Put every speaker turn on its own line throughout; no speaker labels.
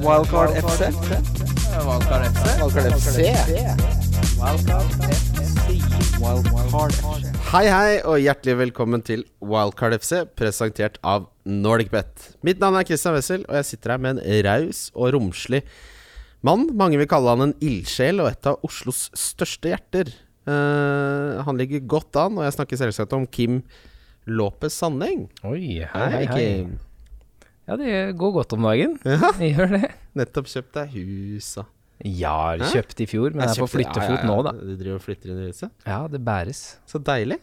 Wildcard FC.
Valkar FC.
Wildcard FC. Wildcard FC.
Hei, hei, og hjertelig velkommen til Wildcard FC, presentert av NordicBet. Mitt navn er Christian Wessel, og jeg sitter her med en raus og romslig mann. Mange vil kalle han en ildsjel og et av Oslos største hjerter. Eh, han ligger godt an, og jeg snakker selvsagt om Kim
Mm.
Låpe Sandeng.
Oi, hei, hei, hei.
Kim.
Ja, det går godt om dagen. Jeg gjør det.
Nettopp kjøpt deg hus, og
Ja, kjøpt i fjor, men jeg er på
kjøpte-
flyttefot
ja, ja,
nå,
ja.
da.
Du driver og flytter inn i huset?
Ja, det bæres.
Så deilig.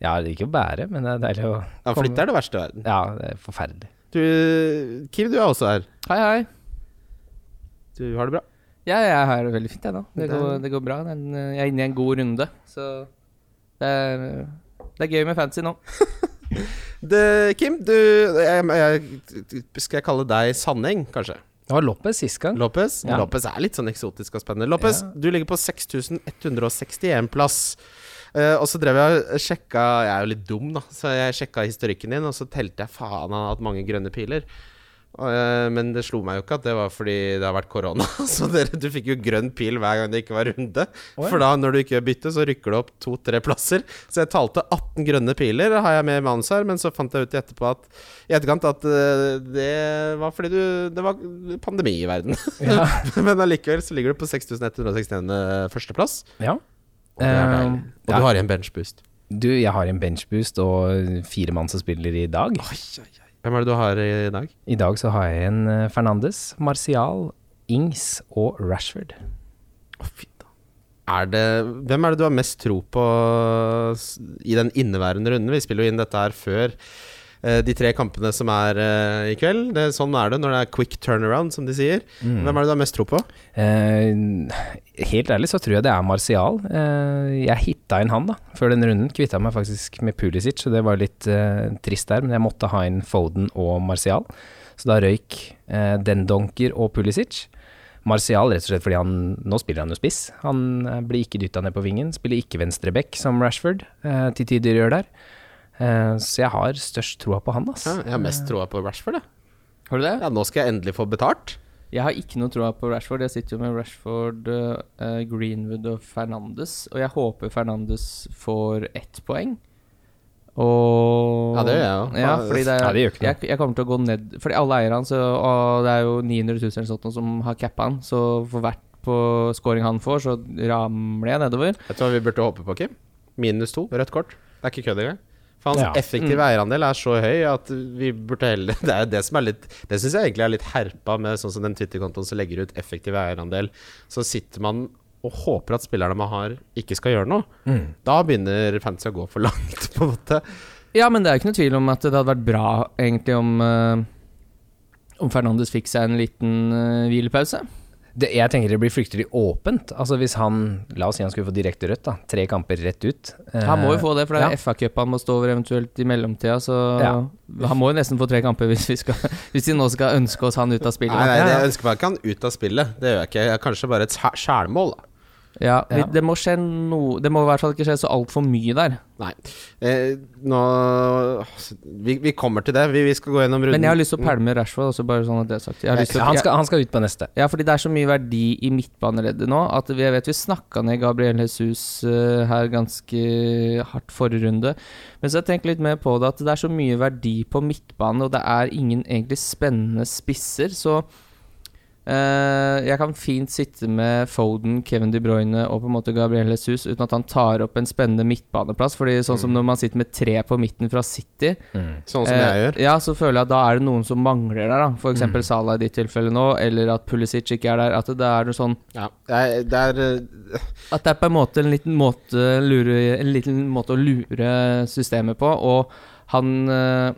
Ja, det er ikke å bære, men det er deilig å
Ja, flytte er det verste i verden.
Ja, det er forferdelig.
Du, Kim, du er også her.
Hei, hei.
Du har det bra.
Ja, jeg har det veldig fint, jeg nå. Det
Det er-
går, det går bra. Det er en- Jeg er inne i en god runde, så det er, det er gøy med fancy nå.
Det, Kim, du jeg, jeg, Skal jeg kalle deg Sandeng, kanskje?
Det var Lopez sist gang.
Lopez?
Ja.
Lopez er litt sånn eksotisk og spennende. Lopez,
Ja.
du ligger på 6161 plass. Eh, og så drev jeg og sjekka Jeg er jo litt dum, da, så jeg sjekka historikken din, og så telte jeg faen han har hatt mange grønne piler. Eh, men det slo meg jo ikke at det var fordi det har vært korona. Så dere, du fikk jo grønn pil hver gang det ikke var runde. For da når du ikke gjør bytte, så rykker du opp to-tre plasser. Så jeg talte 18 grønne piler, har jeg med i manus her, men så fant jeg ut i etterpå at i etterkant at eh, det var fordi du Det var pandemi i verden. Men allikevel så ligger du på 6161. førsteplass.
Ja.
Og det er deilig.
Eh,
Og
ja.
du har igjen benchboost.
Du, jeg har en benchboost og fire mann som spiller i dag.
Hvem er det du har i dag?
I dag så har jeg en eh, Fernandes, Martial, Ings og Rashford.
Er det, hvem er det du har mest tro på s- i den inneværende runden? Vi spiller jo inn dette her før eh, de tre kampene som er eh, i kveld. Det, sånn er det når det er quick turnaround, som de sier. Hvem er det du har mest tro på?
Eh, helt ærlig så tror jeg det er Martial. Eh, jeg hitta inn han da, før den runden. Kvitta meg faktisk med Pulisic, så det var litt eh, trist der. Men jeg måtte ha inn Foden og Martial. Så da røyk eh, Dendonker og Pulisic. Martial rett og slett fordi han Nå spiller han jo spiss. Han eh, blir ikke dytta ned på vingen. Spiller ikke venstre back som Rashford eh, til tider gjør der. Eh, så jeg har størst troa på han, ass.
Ja, jeg har mest troa på Rashford, jeg.
Har du det?
Ja, nå skal jeg endelig få betalt.
Jeg har ikke noe troa på Rashford. Jeg sitter jo med Rashford, eh, Greenwood og Fernandes. Og jeg håper Fernandes får ett poeng. Og
Ja, det gjør jeg jo.
Ja, fordi det,
Ja, det gjør ikke noe.
jeg, jeg kommer til å gå ned Fordi alle eier han, så, og det er jo 900 000 eller sånt noe som har cappa han. Så for hvert på scoring han får, så ramler jeg nedover.
Vet du hva vi burde håpe på, Kim? Minus to, rødt kort. Det er ikke kødd engang. For hans
Ja.
effektive eierandel er så høy at vi burde heller Det er jo det som er litt Det syns jeg egentlig er litt herpa med sånn som den Twitter-kontoen som legger ut effektiv eierandel. Så sitter man og håper at spillerne man har, ikke skal gjøre noe.
Mm.
Da begynner fancy å gå for langt, på en måte.
Ja, men det er jo ikke noe tvil om at det hadde vært bra egentlig om eh, Om Fernandes fikk seg en liten eh, hvilepause.
det, jeg tenker det blir fryktelig åpent. Altså Hvis han La oss si han skulle få direkte rødt, da. Tre kamper rett ut. Eh,
Han må jo få det, for det er
ja.
FA-cup han må stå over eventuelt i mellomtida. Så
Ja.
han må jo nesten få tre kamper hvis, vi skal, hvis de nå skal ønske oss han ut av spillet.
Nei, nei, det jeg ønsker meg ikke han ut av spillet. Det gjør jeg ikke. Jeg er kanskje bare et skjælmål, da.
Ja, vi,
Ja.
Det må skje noe Det må i hvert fall ikke skje så altfor mye der.
Nei. Eh, nå vi, vi kommer til det. Vi, vi skal gå gjennom runden.
Men jeg har lyst til å pælme Rashford også, bare sånn at det er sagt. Jeg har lyst til
Ja,
å,
Eh, han, skal, han skal ut på neste.
Ja, fordi det er så mye verdi i midtbaneleddet nå at vi, jeg vet vi snakka ned Gabriel Jesus eh, her ganske hardt forrige runde. Men så har jeg tenkt litt mer på det at det er så mye verdi på midtbanen, og det er ingen egentlig spennende spisser, så eh, jeg kan fint sitte med Foden, Kevin De Bruyne og på en måte Gabriel Jesus uten at han tar opp en spennende midtbaneplass. Fordi sånn som når man sitter med tre på midten fra City,
Sånn som jeg
Eh,
gjør. Mm.
Ja, så føler jeg at da er det noen som mangler der, da. F.eks. eksempel Salah i ditt tilfelle nå, eller at Pulisic ikke er der. At det, da er noe sånn
Ja. Jeg, det er eh,
At det er på en måte en liten måte, lure, en liten måte å lure systemet på. Og han eh,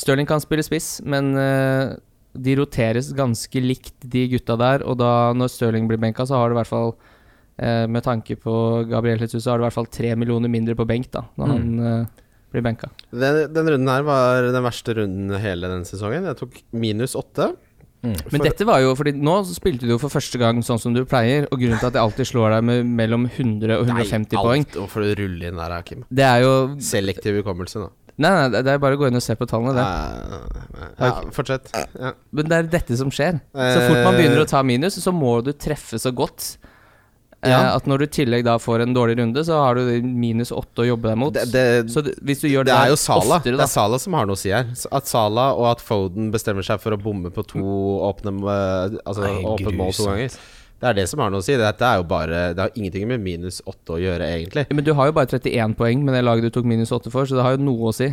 Stirling kan spille spiss, men eh, de roteres ganske likt, de gutta der. Og da når Stirling blir benka, så har du i hvert fall eh, Med tanke på Gabriel Jesus, så har du i hvert fall tre millioner mindre på benk da
Mm.
når han eh, blir benka.
Den, den runden her var den verste runden hele den sesongen. Jeg tok minus åtte.
Men
For-
dette var jo fordi nå spilte du jo for første gang sånn som du pleier, og grunnen til at jeg alltid slår deg med mellom 100 og 150
Nei,
poeng,
alt. Hvorfor du ruller inn der, Kim?
det er jo
Selektiv hukommelse, nå.
Nei, nei, det- det er bare å gå inn og se på tallene. Det.
Eh, ja, fortsett. Ja.
Men det er dette som skjer. Så fort man begynner å ta minus, så må du treffe så godt. eh,
Ja.
At når du i tillegg da får en dårlig runde, så har du minus åtte å jobbe deg mot.
Det, det,
så det, hvis du gjør det,
det er
der
jo Sala.
oftere,
det
da
er Sala som har noe å si her. Så At Sala og at Foden bestemmer seg for å bomme på to åpne eh, Altså
Nei,
åpent mål to
grusomt.
ganger. Det er det som har noe å si. Dette er jo bare Det har ingenting med minus åtte å gjøre, egentlig.
Men du har jo bare 31 poeng med det laget du tok minus 8 for, så det har jo noe å si.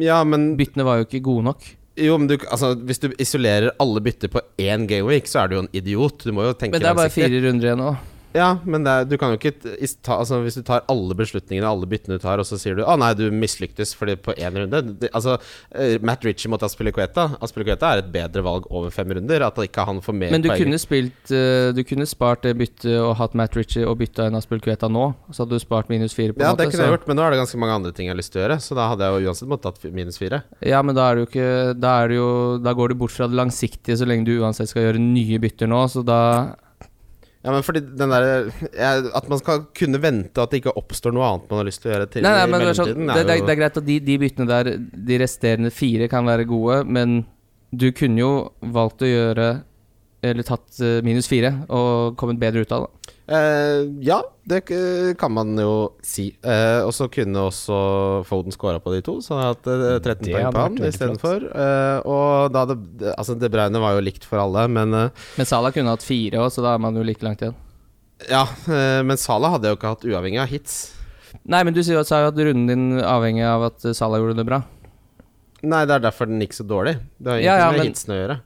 Ja, men
Byttene var jo ikke gode nok.
Jo, men du, altså, hvis du isolerer alle bytter på én gameweek, så er du jo en idiot. Du må jo tenke
Men det er bare
langsiktig.
fire runder igjen nå.
Ja, men det er, du kan jo ikke t- is- ta, altså, Hvis du tar alle beslutningene alle byttene du tar, og så sier du 'Å nei, du mislyktes fordi på én runde' det, Altså, eh, Matt Ritchie mot Aspilicueta Aspilicueta er et bedre valg over fem runder. At ikke han får mer
Men du
poeng.
kunne spilt eh, Du kunne spart det byttet og hatt Matt Ritchie og bytta en Aspelkveta nå. Så hadde du spart minus fire. på en
ja,
måte
det kunne jeg
så-
gjort, men nå er det ganske mange andre ting jeg har lyst til å gjøre. Så da hadde jeg jo uansett måttet tatt minus fire.
Ja, men da er det jo ikke Da er det jo Da går du bort fra det langsiktige så lenge du uansett skal gjøre nye bytter nå, så da
Ja, men fordi den der, eh, jeg, At man skal kunne vente at det ikke oppstår noe annet man har lyst til å gjøre til
Nei, nei,
i
men det er,
mellomtiden.
sånn, det, det,
jo-
er, det er greit at de, de byttene der, de resterende fire, kan være gode, men du kunne jo valgt å gjøre Eller tatt eh, minus fire og kommet bedre ut av det.
Eh, ja, det eh, kan man jo si. Eh, og så kunne også Foden scora på de to, så han hadde hatt eh, 13
Det
poeng på
hadde vært
han
veldig
istedenfor. Uh, og da hadde det- Altså, De Bruyne var jo likt for alle, men eh,
Men Salah kunne hatt fire òg, så da er man jo like langt igjen.
Ja, eh, men Salah hadde jeg jo ikke hatt uavhengig av hits.
Nei, men du sier jo at- sa jo at runden din avhenger av at eh, Salah gjorde det bra.
Nei, det er derfor den gikk så dårlig. Det har ingenting
Ja, ja,
med
men-
hitsene å gjøre.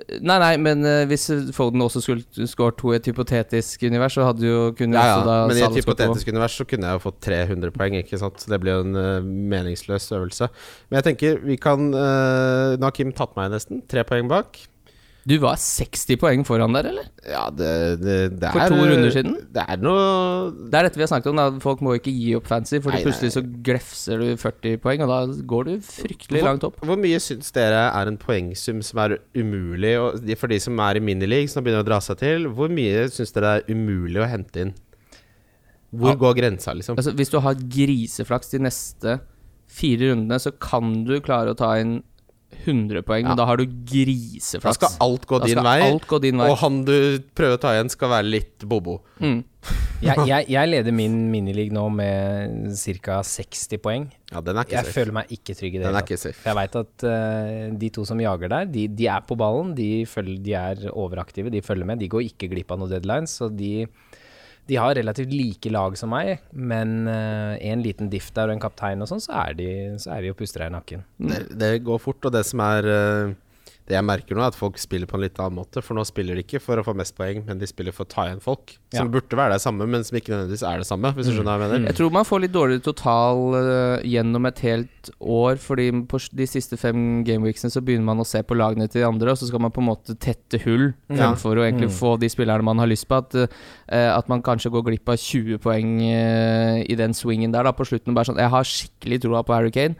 Eh, Nei, nei, men eh, hvis eh, Foden også skulle skåret to i et hypotetisk univers, så hadde jo kunne
Ja,
også da
ja. Men i et
Salah skåret to.
hypotetisk univers så kunne jeg jo fått 300 poeng, ikke sant. Så det blir jo en eh, meningsløs øvelse. Men jeg tenker vi kan eh, Nå har Kim tatt meg nesten. Tre poeng bak.
Du var 60 poeng foran der, eller?
Ja, det, det, det
For
er
to runder siden?
Det er noe
Det er dette vi har snakket om. Da. Folk må ikke gi opp fancy, for
Nei,
plutselig så glefser du 40 poeng, og da går du fryktelig
Hvor-
langt opp.
Hvor mye syns dere er en poengsum som er umulig og de- For de som er i minileague, som begynner å dra seg til, hvor mye syns dere er umulig å hente inn? Hvor går grensa, liksom?
Altså, hvis du har griseflaks de neste fire rundene, så kan du klare å ta inn 100 poeng,
Ja.
men da har du
Da
griseflaks.
skal alt gå
altså, Da
din
skal
vei,
alt gå din vei.
og han du prøver å ta igjen, skal være litt bobo.
Mm.
Jeg, jeg, jeg leder min minileague nå med ca. 60 poeng.
Ja, den er ikke
Jeg
safe.
føler meg ikke trygg i
Den
det.
er
hele tatt.
ikke safe.
For jeg veit at eh, de to som jager der, de, de er på ballen. De, følger, de er overaktive, de følger med. De går ikke glipp av noen deadlines. Så de, de har relativt like lag som meg, men eh, en liten diff der og en kaptein og sånn, så er de, så er de og puster deg i nakken.
Det, det går fort, og det som er eh, Det jeg merker nå, er at folk spiller på en litt annen måte. For nå spiller de ikke for å få mest poeng, men de spiller for å ta igjen folk. Som
Ja. Mm.
burde være det samme, men som ikke nødvendigvis er det samme, hvis du skjønner hva jeg mener.
Jeg tror man får litt dårligere total eh, gjennom et helt år, fordi på s- de siste fem gameweeksene så begynner man å se på lagene til de andre, og så skal man på en måte tette
Ja.
hull
Mm.
fremfor å egentlig få de spillerne man har lyst på. At, eh, at man kanskje går glipp av 20 poeng eh, i den swingen der da, på slutten. og Bare sånn, jeg har skikkelig troa på Harry Kane.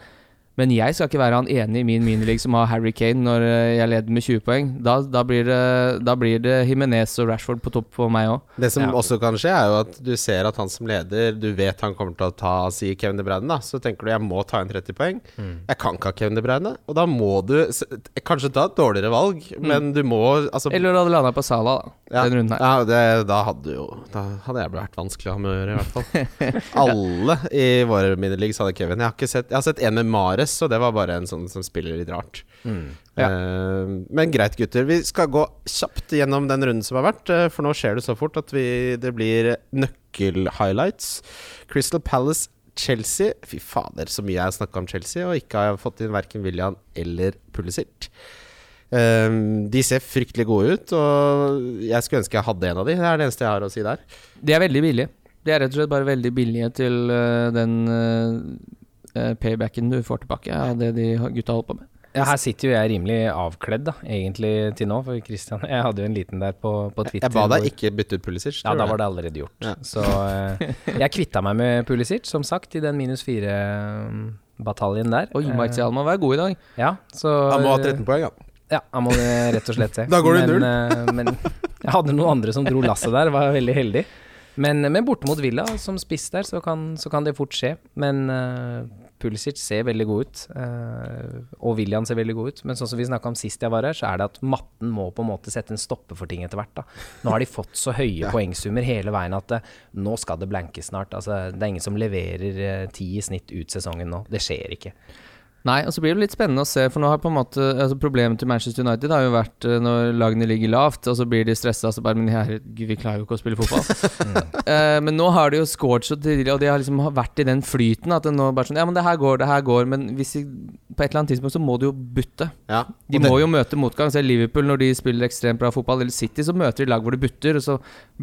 Men jeg skal ikke være han enig i min minileague som har Harry Kane når eh, jeg leder med 20 poeng. Da, da, blir, det, da blir det Jimenez og Rashford på topp på meg òg.
Det som
Ja.
også kan skje, er jo at du ser at han som leder Du vet han kommer til å ta si Kevin De Bruyne, da. Så tenker du jeg må ta inn 30 poeng.
Mm.
Jeg kan ikke ha Kevin De Bruyne. Og da må du s- kanskje ta et dårligere valg,
Mm.
men du må altså
Eller hadde landa på Sala, da.
ja,
Den runden her.
ja, det, da hadde du jo Da hadde jeg vært vanskelig å ha med å gjøre, i hvert fall. Alle i våre minileagues hadde Kevin. Jeg har, ikke sett, jeg har sett en med Mares, og det var bare en sånn som spiller litt rart.
Mm. Ja.
Eh, men greit, gutter. Vi skal gå kjapt gjennom den runden som har vært. eh, For nå skjer det så fort at vi, det blir nøkkelhighlights. Crystal Palace, Chelsea. Fy fader, så mye jeg har snakka om Chelsea, og ikke har jeg fått inn verken William eller Pulisic. Eh, de ser fryktelig gode ut, og jeg skulle ønske jeg hadde en av de. Det er det eneste jeg har å si der.
De er veldig billige. De er rett og slett bare veldig billige til øh, den øh, eh, paybacken du får tilbake av det de har- gutta holdt på med.
Ja, her sitter jo jeg rimelig avkledd, da, egentlig til nå, for Christian Jeg hadde jo en liten der på, på Twitter.
Jeg ba
hvor-
deg ikke bytte ut Pulisic.
Ja, da var det allerede gjort.
Ja.
Så eh, jeg kvitta meg med Pulisic, som sagt, i den minus fire-bataljen der.
Oi, Martial må være god i dag.
Eh, ja, så
Han må ha 13 poeng, ja.
Ja, han må det rett og slett se.
Da går det
men, eh, men jeg hadde noen andre som dro lasset der, var veldig heldig. Men, men borte mot Villa, som spiss der, så kan, så kan det fort skje. Men eh, Pulisic ser veldig god ut, eh, og William ser veldig god ut. Men sånn som vi snakka om sist jeg var her, så er det at matten må på en måte sette en stopper for ting etter hvert. Da. Nå har de fått så høye poengsummer hele veien at eh, nå skal det blankes snart. Altså, det er ingen som leverer eh, ti i snitt ut sesongen nå. Det skjer ikke.
Nei, og så blir det litt spennende å se, for nå har på en måte altså Problemet til Manchester United har jo vært eh, når lagene ligger lavt, og så blir de stressa og så bare Men herregud, vi klarer jo ikke å spille fotball. Eh, men nå har de jo scoret så tidlig, og de har liksom vært i den flyten at det nå bare sånn Ja, men det her går, det her går, men hvis de, på et eller annet tidspunkt så må de jo butte.
Ja.
De
Og
må
det-
jo møte motgang. Se Liverpool når de spiller ekstremt bra fotball. Eller City, så møter de lag hvor de butter, og så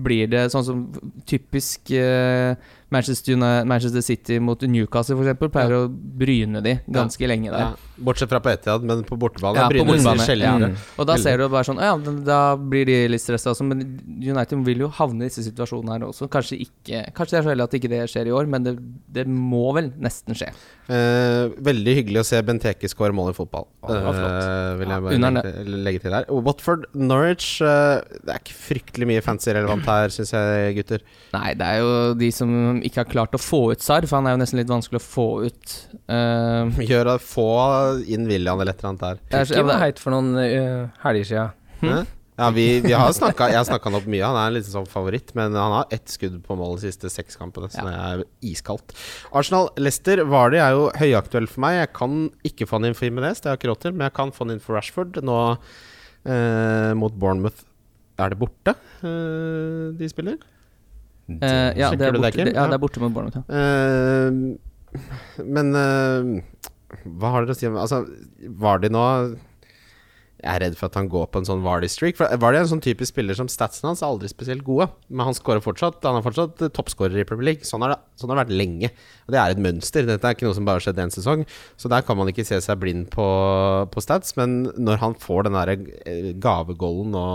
blir det sånn som typisk eh, Manchester, Uni- Manchester City mot Newcastle f.eks. pleier å bryne de ganske lenge der.
ja. Bortsett fra på Etiad, men på Mm. bortebane.
Ja, på
Bryne sier
bortebane, Mm.
sjelden
ja.
det.
Og da ser du bare sånn Ja, men da blir de litt stressa også, men United vil jo havne i disse situasjonene her også. Kanskje ikke Kanskje det er så heldig at ikke det skjer i år, men det, det må vel nesten skje.
Eh, veldig hyggelig å se Benteke skåre mål i fotball.
Ja, det var flott.
Eh, vil jeg
Ja,
bare
under
legge, til- legge til der. Og Watford, Norwich eh, Det er ikke fryktelig mye fancy relevant her, syns jeg, gutter.
Nei, det er jo de som ikke har klart å få ut Sar, for han er jo nesten litt vanskelig å få ut. Eh,
Gjør å få inn William eller et eller annet der.
det er så- ja,
Kim
men-
var heit for noen eh, helger sia.
Hæ? Ja, vi, vi har snakka, jeg har snakka han opp mye. Han er en liten sånn favoritt, men han har ett skudd på mål de siste seks kampene, så det er iskaldt. Arsenal-Lester Vardy er jo høyaktuell for meg. Jeg kan ikke få han inn for Jimenez, det har jeg ikke råd til, men jeg kan få han inn for Rashford. Nå eh, mot Bournemouth er det borte eh, de spiller.
Eh, ja,
Sjekker
det er
du det,
borte,
Kim?
det,
Ja.
ja, det er borte med Bournemouth. ja.
Eh, men eh, hva har dere å si om Altså, Vardy nå Jeg er redd for at han går på en sånn Vardy-streak. For Vardy er en sånn typisk spiller som statsen hans er aldri spesielt gode, men han scorer fortsatt. Han er fortsatt eh, toppskårer i Premier League. Sånn har det, sånn har det vært lenge. Og det er et mønster. Dette er ikke noe som bare har skjedd én sesong. Så der kan man ikke se seg blind på, på stats, men når han får den derre eh, gavegolden og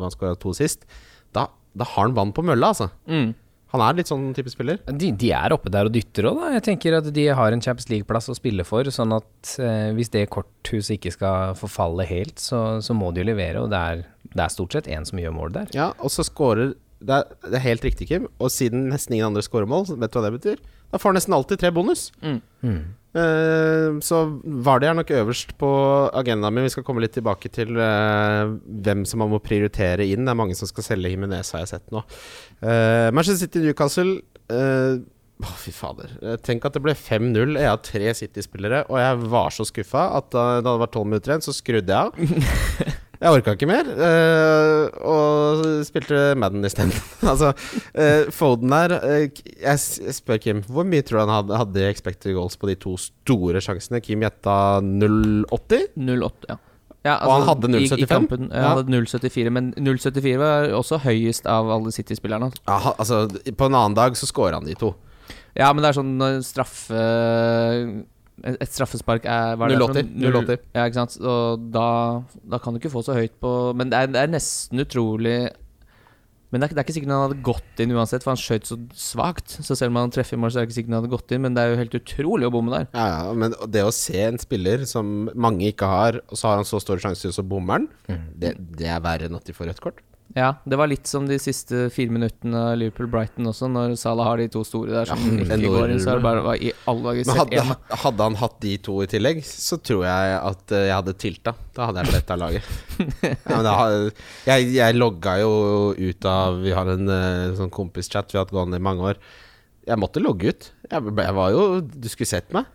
hvor han skåra to sist, da, da har han vann på mølla, altså. Han er litt sånn type spiller.
De, de er oppe der og dytter òg, da. Jeg tenker at de har en Champions League-plass å spille for. Sånn at eh, hvis det korthuset ikke skal forfalle helt, så, så må de jo levere. Og det er, det er stort sett én som gjør mål der.
Ja, og så scorer det er, det er helt riktig, Kim. Og siden nesten ingen andre scorer mål, vet du hva det betyr? Da får han nesten alltid tre bonus. Eh, så Vardi er nok øverst på agendaen min. Vi skal komme litt tilbake til eh, hvem som man må prioritere inn. Det er mange som skal selge Himinez, har jeg sett nå. Eh, Manchester City Newcastle eh, Å, fy fader. Eh, Tenk at det ble 5-0. Jeg har tre City-spillere, og jeg var så skuffa at da da det var tolv minutter igjen, så skrudde jeg av. Jeg orka ikke mer, eh, og spilte Madden isteden. altså, eh, Foden her eh, jeg, s- jeg spør Kim, hvor mye tror du han hadde, hadde i expected goals på de to store sjansene? Kim gjetta 0,80.
0,8, ja. ja altså,
Og han hadde 0,75?
I, i kampen, ja.
Ja.
Han hadde 0,74, men 0,74 var også høyest av alle City-spillerne. altså.
Ja, ha- altså, på en annen dag så scorer han de to.
Ja, men det er sånn når straffe eh, Et straffespark er hva er det for
0,80,
noe? 0,80.
0,80.
Ja, ikke sant. Og da, da kan du ikke få så høyt på Men det er, det er nesten utrolig men det er, ikke- det er ikke sikkert han hadde gått inn uansett, for han skjøt så svakt. Så selv om han treffer i mål, så er det ikke sikkert han hadde gått inn, men det er jo helt utrolig å bomme der.
Ja, ja, men det å se en spiller som mange ikke har, og så har han så stor sjanse til å så bommer han, det, det er verre enn at de får rødt kort.
Ja, det var litt som de siste fire minuttene av Liverpool-Brighton også, når Salah har de to store der som
Ja,
ikke går inn. Så er det bare hva i alle dager
Men
sett
hadde,
en-
hadde han hatt de to i tillegg, så tror jeg at eh, jeg hadde tilta. Da hadde jeg fletta laget. ja, men da, har- jeg, jeg logga jo ut av Vi har en eh, sånn kompischat vi har hatt gående i mange år. Jeg måtte logge ut. Jeg, ble- jeg var jo Du skulle sett meg.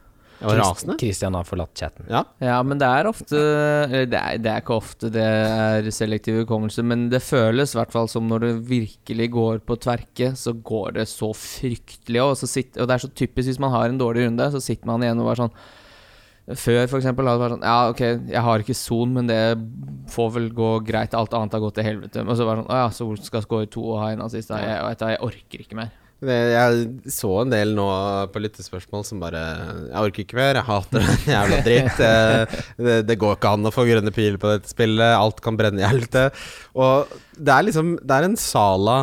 Jeg var rasende.
Christian har forlatt chatten.
Ja.
Ja, men det er ofte eller det er, det er ikke ofte det er selektiv hukommelse, men det føles i hvert fall som når det virkelig går på tverke, så går det så fryktelig. Og, så sitt, og det er så typisk hvis man har en dårlig runde, så sitter man igjen og bare sånn før, for eksempel, hadde det vært sånn Ja, ok, jeg har ikke son, men det får vel gå greit. Alt annet har gått til helvete. Og så bare sånn Å ja, Sol skal score to og ha en assist. da. Jeg, vet du hva, jeg orker ikke mer.
Det, jeg så en del nå på lyttespørsmål som bare Jeg orker ikke mer, jeg hater det, jævla dritt. eh, Det, det går ikke an å få grønne piler på dette spillet. Alt kan brenne i helvete. Og det er liksom Det er en Sala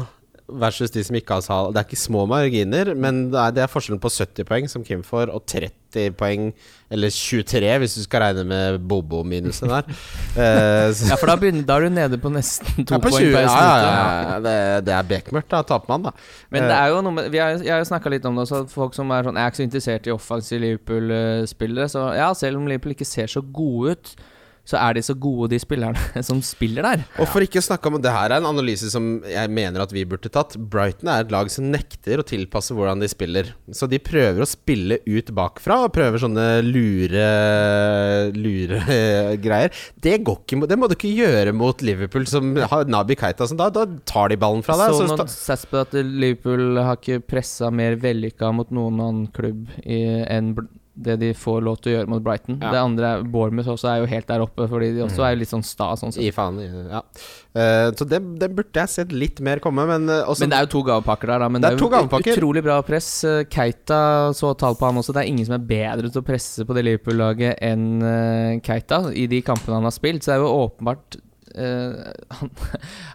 versus de som ikke har sal. Det er ikke små marginer, men det er, det er forskjellen på 70 poeng, som Kim får, og 30 poeng, eller 23 hvis du skal regne med Bobo-minuset der. Eh, så-
Ja, for da, begynner, da er du nede på nesten to
Ja, på
poeng
20,
per
ja,
snute.
ja, ja. Det, det er bekmørkt, da. Taper man, da.
Men
Eh.
det er jo noe med vi har, Jeg har jo snakka litt om det også. at Folk som er sånn Jeg er ikke så interessert i offensive Liverpool-spillere. Så ja, selv om Liverpool ikke ser så gode ut, så er de så gode, de spillerne som spiller der.
Og for ikke å snakke om Det her er en analyse som jeg mener at vi burde tatt. Brighton er et lag som nekter å tilpasse hvordan de spiller. Så de prøver å spille ut bakfra og prøver sånne lure Lure eh, greier. Det går ikke mot- Det må du ikke gjøre mot Liverpool, som har Nabi Keita. Som da, da tar de ballen fra deg. og
så nå
sta-
sats på at Liverpool har ikke pressa mer vellykka mot noen annen klubb i, enn bl- det de får lov til å gjøre mot Brighton.
Ja. Mm.
Det andre, er- Bournemouth, også er jo helt der oppe, fordi de også er jo litt sånn sta. Sånn sett.
i faen, ja. Eh, så det, det burde jeg sett litt mer komme, men eh, også,
Men det er jo to gavepakker der, da. Men
Det
det
er
er,
to gavepakker.
jo utrolig bra press. Eh, Keita så tall på han også. Det er ingen som er bedre til å presse på det Liverpool-laget enn eh, Keita i de kampene han har spilt. Så det er jo åpenbart eh, han,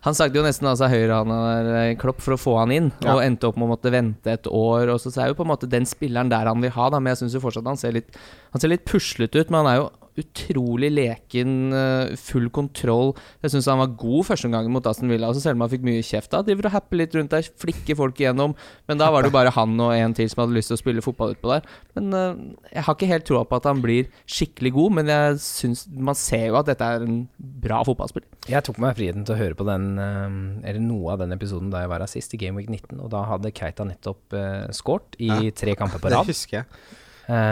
han sagde jo nesten altså, av seg høyrehånda der, eh, Klopp, for å få han inn,
Ja.
og endte opp med å måtte vente et år. Og så, så er jo på en måte den spilleren der han vil ha, da. Men jeg syns jo fortsatt han ser litt Han ser litt puslete ut, men han er jo utrolig leken, eh, full kontroll. Jeg syns han var god første gangen mot Aston Villa, altså selv om han fikk mye kjeft. da Driver og happer litt rundt der, flikker folk igjennom. Men da var det jo bare han og en til som hadde lyst til å spille fotball utpå der. Men eh, jeg har ikke helt troa på at han blir skikkelig god, men jeg syns man ser jo at dette er en bra fotballspiller.
Jeg tok meg friheten til å høre på den, eh, eller noe av den episoden da jeg var her sist, i Game Week 19, og da hadde Keita nettopp uh, scoret i
Ja.
tre kamper på
det
rad.
husker jeg.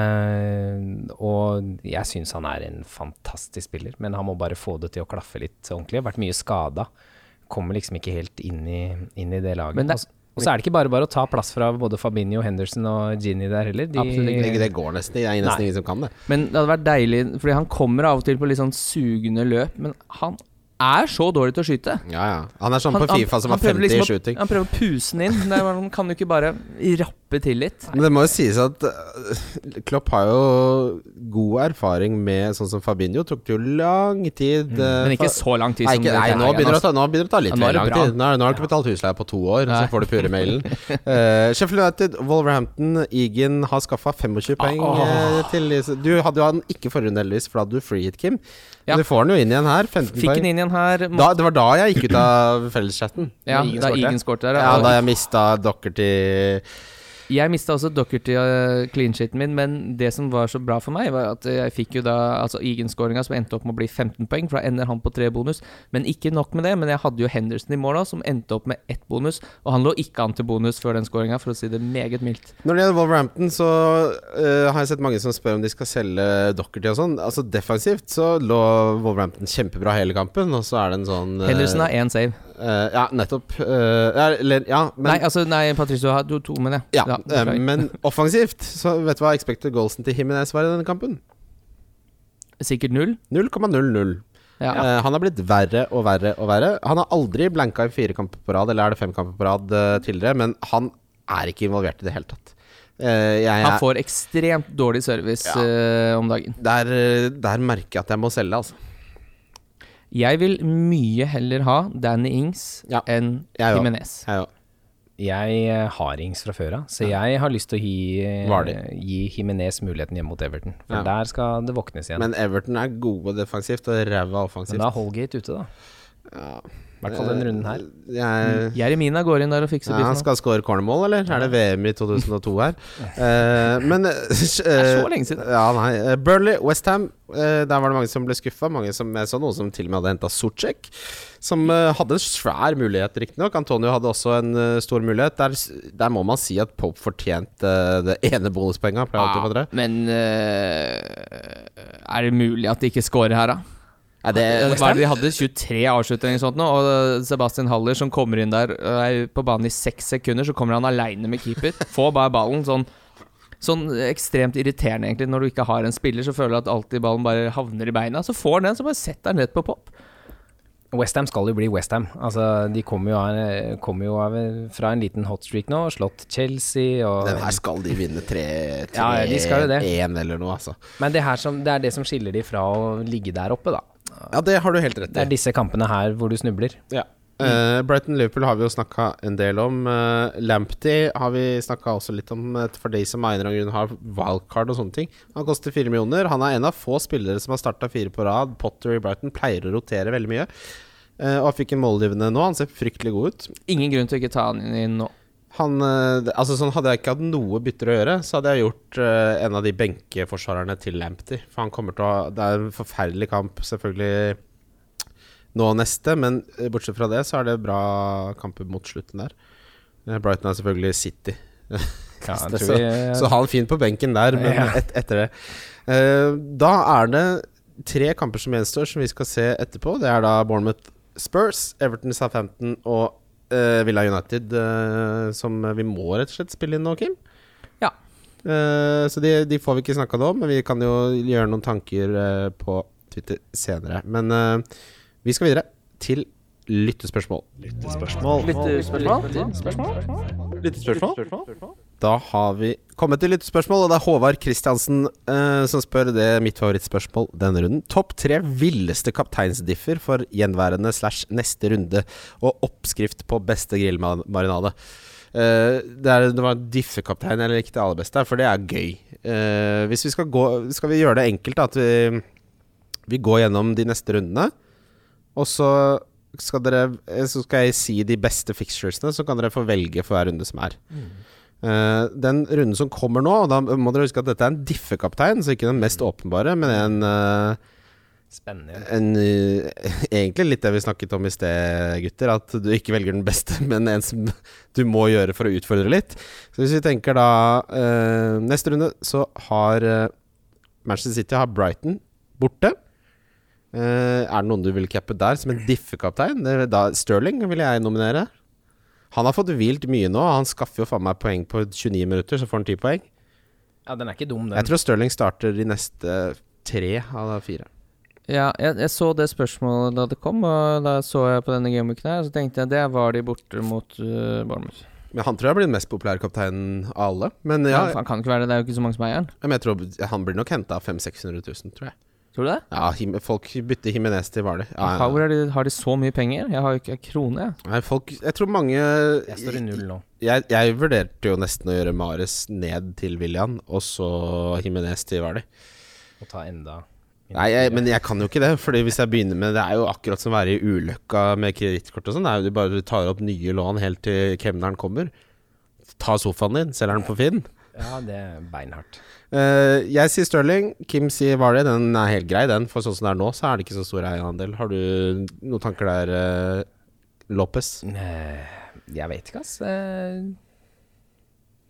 Eh, og jeg syns han er en fantastisk spiller, men han må bare få det til å klaffe litt ordentlig. Har vært mye skada. Kommer liksom ikke helt inn i, inn i det laget.
Men det-
og, s- og så er det ikke bare bare å ta plass fra både Fabinho, Henderson og Gini der heller. De,
Absolutt
Det, det går nesten Det er nesten ingen som kan det.
Men det hadde vært deilig, fordi han kommer av og til på litt sånn sugende løp, men han er så dårlig til å skyte.
Ja, ja. Han er sånn på
Han-
Fifa som
han
har 50
prøver liksom
i
å-
shooting.
Han prøver å puse den inn. Det er, man kan jo ikke bare rappe til litt.
Men det må jo sies at øh, Klopp har jo god erfaring med sånn som Fabinho. Tok det jo lang tid eh,
Mm. Men ikke
fa-
så lang tid
Nei,
som
ikke,
dette
nei
her
nå,
igjen,
begynner det å
altså.
ta, nå begynner det å ta litt
Ja, nå er
mer
det
lang
bra.
tid. Nå, er- nå har du ikke betalt husleie på to år, så får du pulemailen. Uh, Sheffield United, Wolverhampton, Egan har skaffa 25 poeng eh, til Du hadde jo han ikke forrige runde, heldigvis, for da hadde du free hit, Kim.
Ja.
Men du får han jo inn igjen her. 15
Fikk den
poeng.
inn igjen her.
Da, det var da jeg gikk ut av felleschatten.
ja,
Når Egan
da
scoret.
Egan skårte der.
Ja,
og
da jeg mista dokker til
Jeg mista også Dockerty-cleanshiten min, men det som var så bra for meg, var at jeg fikk jo da altså Egan-skåringa, som endte opp med å bli 15 poeng, for da ender han på tre bonus. Men ikke nok med det, men jeg hadde jo Henderson i mål da, som endte opp med ett bonus, og han lå ikke an til bonus før den skåringa, for å si det meget mildt.
Når det gjelder Wolverhampton, så eh, har jeg sett mange som spør om de skal selge Dockerty og sånn. Altså Defensivt så lå Wolverhampton kjempebra hele kampen, og så er det en sånn eh,
Henderson har én save.
eh, Ja, nettopp. Eh, ja, eller, ja, men
nei, altså, nei, Patricio har to, to mener jeg.
ja,
Ja,
eh,
beklager.
men offensivt, så vet du hva expected goalsen til Jimenez var i denne kampen?
Sikkert null.
0,00.
Ja.
Eh, han har blitt verre og verre og verre. Han har aldri blanka i fire kamper på rad, eller er det fem kamper på rad eh, tidligere, men han er ikke involvert i det hele tatt. Eh, jeg er-
Han får ekstremt dårlig service eh, om dagen.
der, eh, der merker jeg at jeg må selge, altså.
Jeg vil mye heller ha Danny Ings
Ja.
enn
Jeg òg.
Jimenez.
Jeg òg.
jeg eh, har Ings fra før av, så jeg har lyst til å gi, eh,
Var det?
gi Jimenez muligheten hjemme mot Everton. For
Ja.
der skal det våknes igjen. Men,
Men Everton er gode defensivt og ræva offensivt.
da er Holgate ute, da.
Ja.
I hvert fall denne runden her.
Jeg,
Mm,
Jeremina går inn der og fikser
ja,
sånn.
biffen.
han skal score cornermål, eller? Er det VM i 2002 her? Eh, men
er så lenge siden.
Ja, nei. Eh, Burnley, Westham. Uh, der var det mange som ble skuffa. Mange som jeg så noen som til og med hadde henta Sorcek. Som eh, hadde en svær mulighet, riktignok. Antonio hadde også en eh, stor mulighet. Der, s- der må man si at Pope fortjente eh, det ene bonuspenga. Pleier alltid å få tre.
Men eh, er det mulig at de ikke scorer her, da?
Nei, det-
Hva er det de hadde 23 avslutninger eller sånt nå, og eh, Sebastian Haller som kommer inn der eh, er på banen i seks sekunder, så kommer han aleine med keeper. Får bare ballen sånn Sånn ekstremt irriterende, egentlig, når du ikke har en spiller, så føler du at alltid ballen bare havner i beina. Så får han den, så bare setter han rett på pop.
Westham skal jo bli Westham. Altså, de kommer jo, av, kommer jo av, fra en liten hotstreak nå, slått Chelsea og
Den her skal de vinne 3-1
Ja, ja, de skal jo det.
eller noe, altså.
Men det, her som, det er det som skiller de fra å ligge der oppe, da.
Ja, det har du helt rett
Det er
i.
disse kampene her hvor du snubler.
Ja. Eh, Brighton-Liverpool har vi jo snakka en del om. Eh, Lamptey har vi snakka også litt om, eh, for de som av en eller annen grunn har wildcard og sånne ting. Han koster fire millioner. Han er en av få spillere som har starta fire på rad. Potter i Brighton pleier å rotere veldig mye. Eh, og han fikk en målgivende nå. Han ser fryktelig god ut.
Ingen grunn til å ikke ta han inn nå.
Han, eh, det- altså sånn Hadde jeg ikke hatt noe bytter å gjøre, så hadde jeg gjort eh, en av de benkeforsvarerne til Lamptey. For han kommer til å Det er en forferdelig kamp, selvfølgelig, nå neste, men eh, bortsett fra det, så er det bra kamper mot slutten der. Eh, Brighton er selvfølgelig City,
Ja, jeg
så,
tror vi,
så han er fin på benken der, men
Ja.
et, etter det Eh, Da er det tre kamper som gjenstår, som vi skal se etterpå. Det er da Bournemouth Spurs, Everton Southampton og eh, Villa United, eh, som vi må rett og slett spille inn nå, Kim.
Ja.
Eh, så de, de får vi ikke snakka det om, men vi kan jo gjøre noen tanker eh, på Twitter senere. Men eh, vi skal videre til lyttespørsmål. Da har vi kommet til lyttespørsmål, og det er Håvard Kristiansen eh, som spør det er mitt favorittspørsmål denne runden. Topp tre villeste kapteinsdiffer for gjenværende slash neste runde, og oppskrift på beste grillmarinade. Eh, det, er, det var diffekaptein jeg likte aller best der, for det er gøy. Eh, hvis vi skal gå Skal vi gjøre det enkelt, da, at vi, vi går gjennom de neste rundene, og så skal dere eh, Så skal jeg si de beste fixturesene, så kan dere få velge for hver runde som er. Eh, den runden som kommer nå, og da må dere huske at dette er en diffekaptein, så ikke den mest åpenbare, men en, eh,
Spennende.
en eh, Egentlig litt det vi snakket om i sted, gutter, at du ikke velger den beste, men en som du må gjøre for å utfordre litt. Så hvis vi tenker da eh, Neste runde så har eh, Manchester City har Brighton borte. Eh, er det noen du vil cappe der som en diffekaptein? Det er Da Sterling vil jeg nominere. Han har fått hvilt mye nå. Han skaffer jo faen meg poeng på 29 minutter, så får han 10 poeng.
Ja, den er ikke dum,
Jeg
den.
tror Sterling starter de neste tre av de fire.
Ja, jeg, jeg så det spørsmålet da det kom, og da så jeg på denne gameweeken her, og så tenkte jeg det var de borte mot uh, Bournemouth.
Men Han tror jeg blir den mest populære kapteinen av alle. Men ja,
Ja. Han kan ikke være det, det er jo ikke så mange som eier den.
men jeg tror han blir nok henta av 500 000-600 000, tror jeg.
Tror du det?
Ja, Him folk bytter Himinez til Hvaler. Ja, ja,
Power, er de, har de så mye penger? Jeg har jo ikke en krone, jeg.
ja. Nei, folk Jeg tror mange
Jeg står i
jeg,
null nå.
jeg, vurderte jo nesten å gjøre Mares ned til William, og så Himinez til Hvaler.
Å ta enda
Nei, jeg, men jeg kan jo ikke det. Fordi hvis jeg begynner med Det er jo akkurat som å være i ulykka med kredittkort og sånn. Det er jo du bare tar opp nye lån helt til kemneren kommer. Ta sofaen din, selger den på Finn.
Ja, det er beinhardt.
Eh, jeg sier Sterling, Kim sier Vardy. Den er helt grei, den. For sånn som det er nå, så er det ikke så stor eierandel. Har du noen tanker der, eh, Lopez?
Eh, Jeg vet ikke, ass. Eh,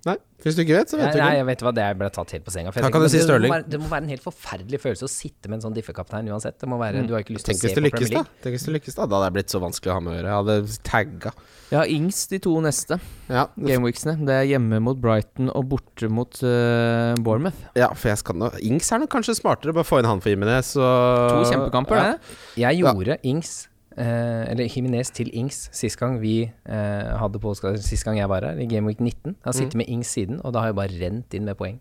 Nei, hvis du ikke vet, så
Nei,
vet du
nei,
ikke.
jeg vet hva, det jeg ble tatt helt på senga. for jeg
Da kan
tenker,
du si
men det,
Stirling.
må være, det må være en helt forferdelig følelse å sitte med en sånn diffekaptein uansett. Det må være, Du har ikke lyst til å
Mm. Tenk
se
hvis
på
det lykkes, da.
Premier League.
Tenk hvis det lykkes Da Da hadde jeg blitt så vanskelig å ha med å gjøre. Jeg hadde tagga.
Jeg har Ings de to neste
Ja,
gameweeksene. Det er hjemme mot Brighton og borte mot eh, Bournemouth.
ja, for jeg skal nå Ings er nok kanskje smartere. Bare få inn han for Jimenez,
To
så
kjempekamper,
ja.
det.
Jeg gjorde Ings, eh, eller Himinez til Ings, sist gang vi eh, hadde på Oscar, sist gang jeg var her, i Game Week 19. Jeg har
Mm.
sittet med Ings siden, og da har jeg bare rent inn med poeng.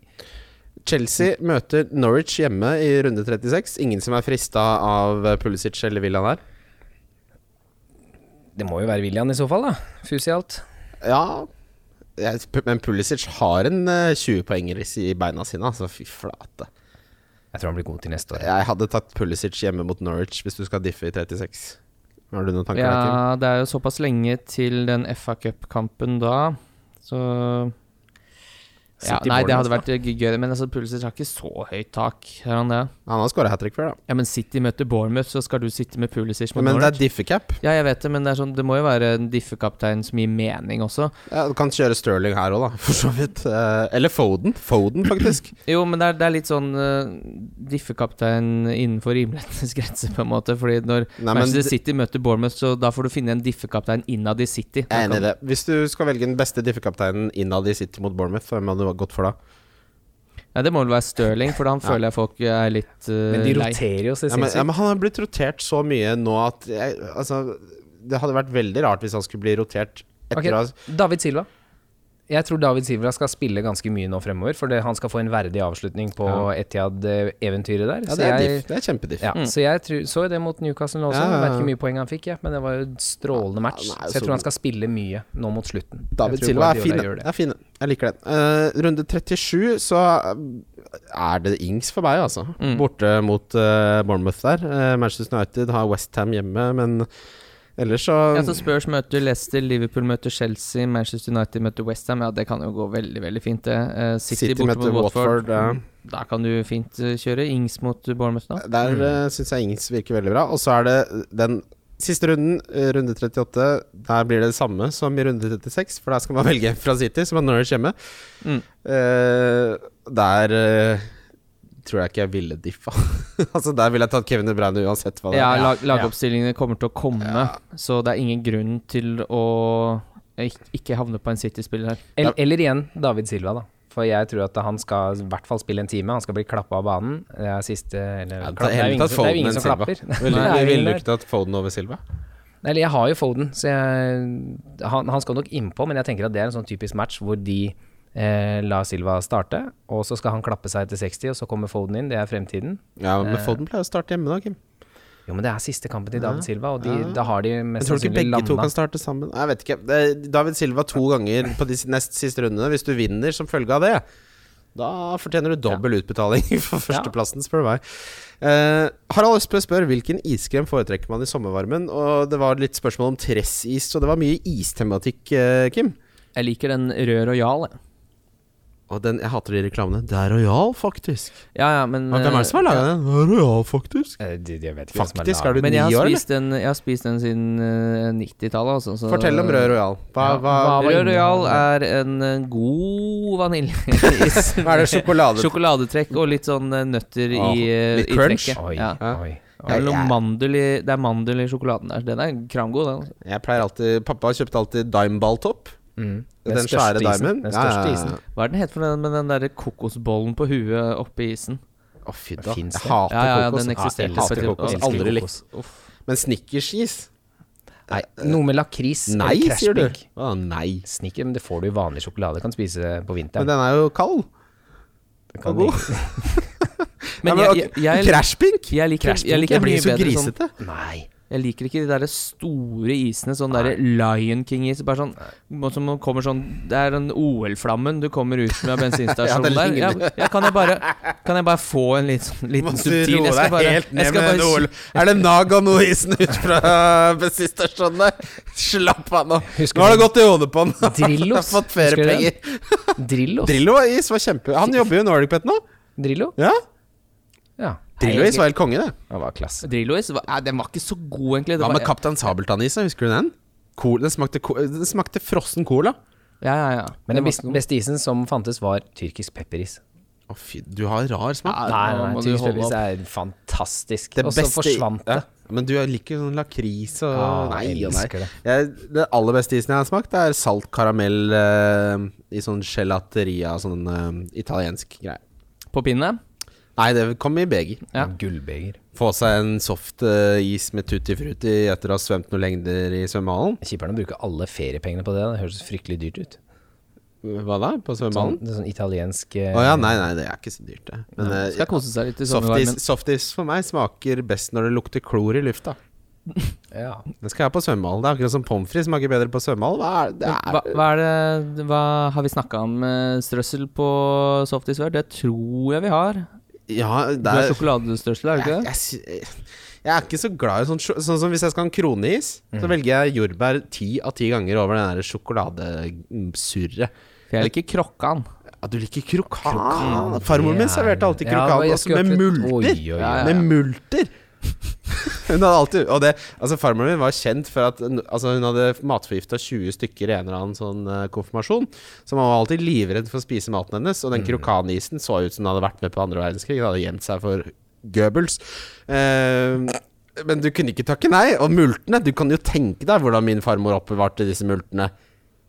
Chelsea møter Norwich hjemme i runde 36. Ingen som er frista av Pulisic eller Villan her?
Det må jo være William i så fall, da. Fus i alt.
Ja, jeg, men Pulisic har en eh, 20-poenger i i beina sine, altså. Fy flate.
Jeg tror han blir god til neste år.
Jeg hadde tatt Pulisic hjemme mot Norwich hvis du skal diffe i 36. Har du noen tanker der, Kim?
Ja, det er jo såpass lenge til den FA Cup-kampen da, så ja,
City
Nei, det
Bournemouth,
hadde vært gøy, gøy, men altså, Pulisic har ikke så høyt tak. Har han det?
Han har skåra hat trick før, da.
Ja, men City møter Bournemouth, så skal du sitte med Pulisic mot
Men det
Norwich.
er diffe-cap.
Ja, jeg vet det, men det, er sånn, det må jo være en diffekaptein som gir mening også.
Ja, du kan kjøre Sterling her òg, da, for så vidt. Eh, eller Foden. Foden, faktisk.
Jo, men det er, det er litt sånn eh, diffekaptein innenfor rimelighetens grense, på en måte. Fordi når
Nei, men
Manchester
jeg
City møter Bournemouth, så da får du finne en diffekaptein innad i City.
er enig i det. Hvis du skal velge den beste diffe-kapteinen innad i City mot Bournemouth, hvem hadde du gått for da?
Ja, det må vel være Sterling, for da føler jeg folk er litt eh,
Men de
lei.
roterer jo seg
Ja men,
sinnssykt.
ja, men han har blitt rotert så mye nå at jeg, Altså, det hadde vært veldig rart hvis han skulle bli rotert etter
Ok,
å ha
David Silva. jeg tror David Silva skal spille ganske mye nå fremover, for det, han skal få en verdig avslutning på Etiad-eventyret der.
Ja, det er,
så jeg,
diff. Det er kjempediff.
ja, så jeg tror, så jo det mot Newcastle nå også.
Ja, ja, ja.
Vet ikke hvor mye poeng han fikk, jeg, men det var jo en strålende match.
Ja, han er jo
så
så
jeg tror han
god.
skal spille mye nå mot slutten. Jeg
David
tror
Silva er
Guardiola
fin.
gjør det.
Jeg, er fin. jeg liker den. Eh, runde 37, så eh, er det Ings for meg, altså.
Mm.
Borte mot eh, Bournemouth der. Eh, Manchester United har Westham hjemme, men ellers så
Ja, så Spurs møter Leicester, Liverpool møter Chelsea, Manchester United møter Westham. Ja, det kan jo gå veldig, veldig fint, det. Eh, City,
City
borte
møter
mot
Watford,
Watford.
ja.
Da kan du fint eh, kjøre. Ings mot Bournemouth nå.
Der mm. syns jeg Ings virker veldig bra. Og så er det den siste runden, eh, runde 38. Der blir det det samme som i runde 36, for der skal man velge fra City, som har Norwich hjemme.
Mm.
Eh, der eh, tror jeg ikke jeg ville diffa. altså, der ville jeg tatt Kevin De Bruyne uansett hva det
Ja,
er.
lag, lagoppstillingene kommer til å komme, så det er ingen grunn til å ik- ikke havne på en City-spiller her.
Eller, eller igjen David Silva, da. For jeg tror at han skal i hvert fall spille en time. Han skal bli klappa av banen. Det er siste eller,
Ja,
klapp- det er jo ingen, som- det er jo ingen som klapper.
Ville
Nei, det er ingen
vil du
der.
ikke tatt Foden over Silva?
Nei, Eller jeg har jo Foden, så jeg, han, han skal nok innpå, men jeg tenker at det er en sånn typisk match hvor de eh, lar Silva starte, og så skal han klappe seg til 60, og så kommer Foden inn. Det er fremtiden.
Ja, men
Eh.
Foden pleier å starte hjemme da, Kim.
Jo, men det er siste kampen til David Silva, og de,
ja.
da har de mest
Jeg tror du ikke
sannsynlig
begge to kan
landa.
starte sammen? Nei, Jeg vet ikke. Det er David Silva to ganger på de s- nest siste rundene. Hvis du vinner som følge av det, da fortjener du dobbel utbetaling for førsteplassen, spør du meg. Eh, Harald Østbø spør hvilken iskrem foretrekker man i sommervarmen. Og det var litt spørsmål om tressis, og det var mye istematikk, eh, Kim.
Jeg liker den rød rojal. jeg.
Og den, jeg hater de reklamene. Det er Royal, faktisk.
Ja, ja, men
Ja, Hvem er det som har laga den? Det er Royal, faktisk.
Eh, de- de vet ikke hvem som er
Faktisk
laget.
er du
Men
ni
jeg
år,
har,
eller?
spist den, jeg har spist den siden eh, 90-tallet, altså. så-
Fortell om Rød Royal. Hva, hva,
Ja,
hva,
Rød Royal er en eh, god vaniljeis.
er det sjokolade
Sjokoladetrekk og litt sånn eh, nøtter
Åh,
i, eh,
litt
i
crunch.
trekket.
Oi,
Ja.
oi.
Det er, noe mandel i, det er mandel i sjokoladen der. Den er kramgod, den. altså.
Jeg pleier alltid Pappa kjøpte alltid Dimeball-topp.
Mm.
Den, svære
største isen.
dimen.
Den største
Ja, ja,
isen.
ja.
Hva er den het for den med den derre kokosbollen på huet oppi isen?
Å, fy da. Jeg
Finns det?
hater
Ja, ja, ja,
kokos.
den eksisterte
jeg hater
faktisk.
kokos.
Elsker
Aldri likt.
kokos.
Men snickerskis?
Nei, noe med lakris eller
Nei,
Crash
sier du.
Pink.
Å, nei.
Snikker, men det får du i vanlig sjokolade. Kan spise på
Men
vinteren.
den er jo kald.
Kan
og god.
ikke-
Men
Nei,
jeg, jeg, jeg,
Crashpink?
jeg liker,
Crash
jeg
Pink,
liker
Jeg blir
mye
så
bedre sånn
grisete.
Nei.
Jeg liker ikke de der store isene, sånn derre Lion King-is. Bare sånn må- Som man kommer sånn Det er den OL-flammen du kommer ut med av
Ja,
bensinstasjonen
den
der. Ja,
ligger-
ja, kan, jeg bare, kan jeg bare få en litt, sånn- liten subtil Jeg skal bare, jeg skal bare
Noel. Er det Nagano-isen ut fra bensinstasjonen der? Slapp av nå.
Husker
Nå har det
du-
gått i hodet på han. Han har
Drillos.
fått
Husker du den?
feriepenger.
Drillos.
Drillo-is var kjempe... Han jobber jo i Nordic Pet nå.
Drillo?
Ja.
Ja.
Drillo-is var helt konge, det.
Det var klasse.
Drillo-is var- nei, ah, den var ikke så god, egentlig. Det
Hva
var,
med Kaptein Sabeltann-is? da? Husker du den? Cola, den, smakte, ko- den smakte frossen cola.
ja, ja, ja.
Men den
var-
beste, beste isen som fantes, var tyrkisk pepperis.
Å fy, du har rar smak.
Ja,
Nei,
nå
nei,
må du
tyrkisk
holde
pepperis
opp.
er fantastisk.
Det
Og så
beste-
forsvant
Ja,
det.
men du liker sånn lakris og
Ja,
Nei,
jeg
og
elsker
nei.
det.
Jeg, den aller beste isen jeg har smakt, er salt karamell eh, i sånn gelateria, sånn eh, italiensk greie.
På pinne?
Nei, det kom i beger.
Ja.
Gullbeger.
Få seg en soft eh, is med tutti frutti etter å ha svømt noen lengder i svømmehallen.
Kjiperne bruker alle feriepengene på det. Det høres fryktelig dyrt ut.
Hva da? På
Sånn,
svømmehallen?
det er sånn italiensk eh,
Å ja, nei, nei, det er ikke så dyrt, det. Men eh,
Skal kose seg litt i
softis,
sommervarmen.
softis for meg smaker best når det lukter klor i lufta.
ja.
Det skal jeg ha på svømmehallen. Det er akkurat som pommes frites smaker bedre på svømmehallen. Hva er det?
Hva, hva er det Hva har vi snakka om eh, strøssel på softis før? Det tror jeg vi har.
Ja, det
Du har
er
sjokoladestrøssel, er det ikke
jeg,
det?
jeg, sy- jeg er ikke så glad i sånn sjo- Sånn som hvis jeg skal ha en kroneis,
Mm.
så velger jeg jordbær ti av ti ganger over den der sjokoladesurret.
For jeg liker krokkan.
Ja, du liker krokan. Farmor min
det er-
serverte alltid
Ja,
krokan,
jeg
også
skulle
med
akkurat-
multer.
Oi, oi, oi.
Ja, ja, ja.
Med multer! hun hadde alltid Og det Altså, farmoren min var kjent for at Altså, hun hadde matforgifta 20 stykker i en eller annen sånn eh, konfirmasjon, så man var alltid livredd for å spise maten hennes, og
Mm.
den krokanisen så ut som den hadde vært med på andre verdenskrig, den hadde gjemt seg for Goebbels. Eh, men du kunne ikke takke nei. Og multene, du kan jo tenke deg hvordan min farmor oppbevarte disse multene.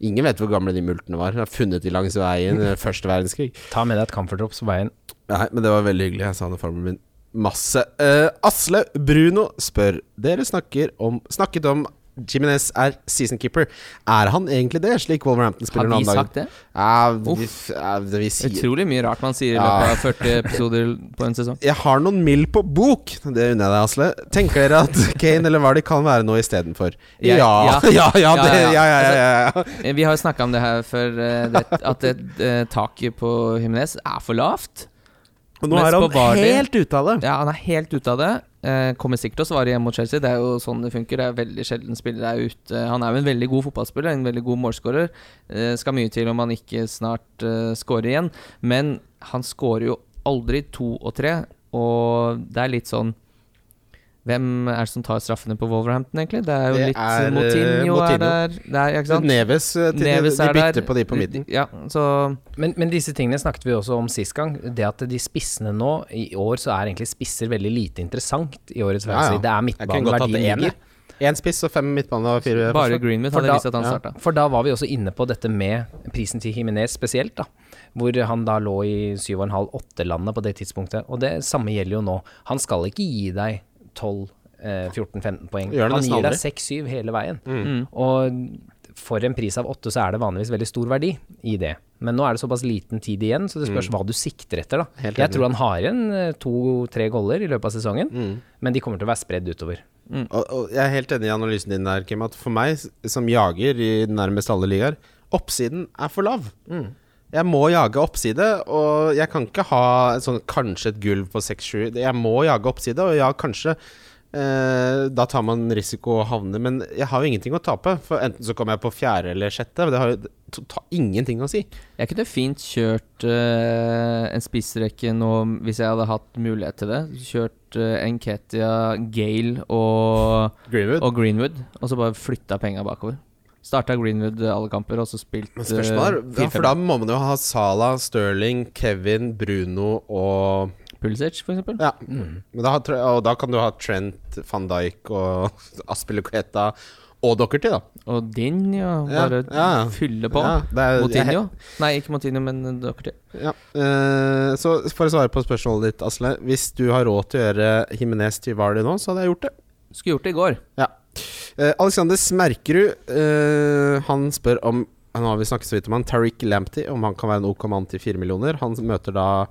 Ingen vet hvor gamle de multene var. Hun har funnet de langs veien eh, første verdenskrig.
Ta med deg et Comfort Drops på veien.
Nei, men det var veldig hyggelig. Jeg sa det farmen min masse. Eh, Asle Bruno spør Dere snakker om, snakket om Jiminez er season keeper. Er han egentlig det, slik Wolverhampton
Har
spiller nå
vi
om dagen?
sagt det?
Ja, vi,
Uff.
ja, det vi sier
Utrolig mye rart man sier i
Ja.
løpet av 40 episoder på en sesong.
Jeg har noen mill på bok! Det unner jeg deg, Asle. Tenker dere at Kane eller Vardy kan være noe istedenfor? Ja,
Jeg-
ja, ja,
ja.
ja, det, ja,
Ja, ja,
Altså, ja,
ja.
ja, ja.
Eh, Vi har jo snakka om det her før, eh, det, at det, eh, taket på Himnes er for lavt.
Og nå
Mens
er
på Vardy-
han helt ute av det.
Ja, Han er helt ute av det. Eh, Kommer sikkert til å svare hjemme mot Chelsea. Det er jo sånn det funker. Det er veldig sjelden spillere er ute. Han er jo en veldig god fotballspiller, en veldig god målskårer. Eh, Skal mye til om han ikke snart eh, skårer igjen. Men han skårer jo aldri to og tre, og det er litt sånn hvem er det som tar straffene på Wolverhampton, egentlig? Det er jo
Det
litt
er, eh,
Motinho er
Motinho.
der. Det er, ikke sant?
Neves, eh, til,
Neves
de,
er
de bytter
der.
på de på midten.
Ja, så
Men, men disse tingene snakket vi også om sist gang. Det at de spissene nå, i år så er egentlig spisser veldig lite interessant i årets
Ja, ja.
fantasy. Det
Jeg
er
kunne
midtbanen
godt hatt
verdien
én.
ligger.
jeg. Én spiss og fem midtbane og fire
bare Greenwood
For
hadde
da-
visst at han
ja.
starta.
For da var vi også inne på dette med prisen til Jimenez spesielt, da. Hvor han da lå i 7,5-8-landet på det tidspunktet. Og det samme gjelder jo nå. Han skal ikke gi deg 12-14-15 poeng.
Gjør det
Han
nesten
gir deg
aldri. Mm.
6-7 hele veien. Og for en pris av 8 så er det vanligvis veldig stor verdi i det. Men nå er det såpass liten tid igjen, så det spørs hva du sikter etter. da.
Mm. Helt
Jeg
enig.
tror han har igjen to-tre goller i løpet av sesongen,
Mm.
men de kommer til å være spredd utover.
Og, og jeg er helt enig i analysen din der, Kim. At for meg, s- som jager i nærmest alle ligaer, oppsiden er for lav. Jeg må jage oppside, og jeg kan ikke ha en sånn, kanskje et gulv på 6-7. Det- Jeg må jage oppside, og ja, kanskje eh, Da tar man risiko og havner, men jeg har jo ingenting å tape. For enten så kommer jeg på fjerde eller sjette. Det har jo to- ta- ingenting å si.
Jeg kunne fint kjørt eh, en spissrekke nå hvis jeg hadde hatt mulighet til det. Kjørt uh, Enketia, Gale og,
Greenwood.
og Greenwood, og så bare flytta penga bakover. Starta Greenwood eh, alle kamper, og så spilt
Men spørsmålet er,
eh,
ja,
fire-fem.
for da må man jo ha Salah, Sterling, Kevin, Bruno og
Pulisic, for eksempel.
Ja, men da, har Tre- og da kan du ha Trent, van Dijk og Aspilicueta og Docherty, da.
Og din, ja.
Ja,
Bare
ja.
fylle på.
Ja, det er-
Motinho? Nei, ikke Motinho, men dere til.
Jeg, ja. Eh, så for å svare på spørsmålet ditt, Asle. Hvis du har råd til å gjøre Himinez til Vardy nå, så hadde jeg gjort det.
Skulle gjort det i går.
Ja. Eh, Alexander Smerkerud, eh, han spør om Nå har vi snakket så vidt om han Tariq Lamptey, om han kan være en OK mann til fire millioner. Han møter da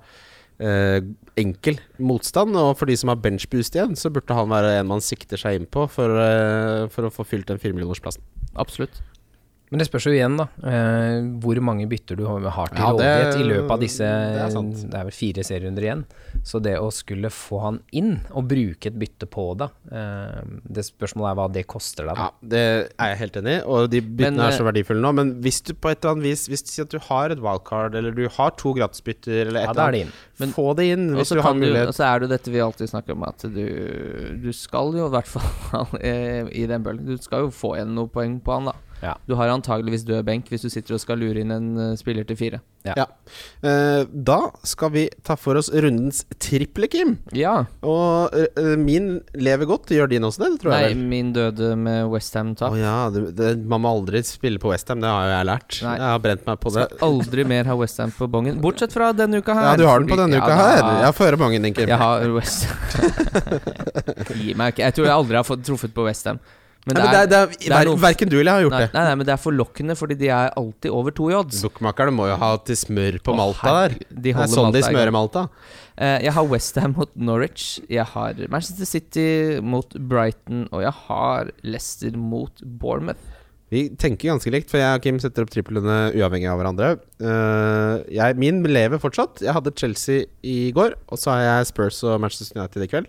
eh, enkel motstand, og for de som har benchboost igjen, så burde han være en man sikter seg inn på for, eh, for å få fylt den firemillionersplassen.
Absolutt.
Men det spørs jo igjen, da. Eh, hvor mange bytter du har til
Ja, det-
rådighet i løpet av disse
det er sant.
Det er vel fire serierunder igjen. Så det å skulle få han inn og bruke et bytte på det, eh, det spørsmålet er hva det koster
Ja,
deg. Da.
det er jeg helt enig i, og de byttene
Men,
er så verdifulle nå. Men hvis du på et eller annet vis Hvis du sier at du har et wildcard, eller du har to gratisbytter, eller et
Ja, da er
eller annet,
det inn.
Men-
få det inn
Og
hvis
så
du har
kan du-
mulighet.
og så er det jo dette vi alltid snakker om, at du, du skal jo i hvert fall eh, i den bølgen Du skal jo få igjen noen poeng på han, da.
Ja.
Du har antageligvis død benk hvis du sitter og skal lure inn en eh, spiller til fire.
ja. Eh, da skal vi ta for oss rundens triple, Kim.
Ja.
Og eh, min lever godt. Gjør din også det? Det tror
Nei,
jeg vel.
min døde med
Å
Westham-tap.
ja, det, det, man må aldri spille på Westham, det har jo jeg lært.
Nei.
Jeg har brent meg på det.
Aldri mer har Westham på bongen. Bortsett fra denne uka her.
Ja, du har den på denne
Ja,
uka
da-
her. Jeg får høre mange, din, Kim.
Jeg har Westham. Gi meg ikke Jeg tror jeg aldri har fått truffet på Westham. Men
Nei,
det
men det er,
er
det er,
er noe-
ver, verken du eller jeg har gjort
Nei,
det.
nei, nei, men det er forlokkende, fordi de er alltid over to i odds.
Bookmakerne må jo ha til smør på
Å,
Malta der.
herregud, de
Det er
holder
sånn de
Malta i gang.
smører Malta.
Eh, Jeg har Westham mot Norwich. Jeg har Manchester City mot Brighton. Og jeg har Leicester mot Bournemouth.
Vi tenker ganske likt, for jeg og Kim setter opp triplene uavhengig av hverandre. Eh, jeg, min lever fortsatt. Jeg hadde Chelsea i går, og så har jeg Spurs og Manchester United i kveld.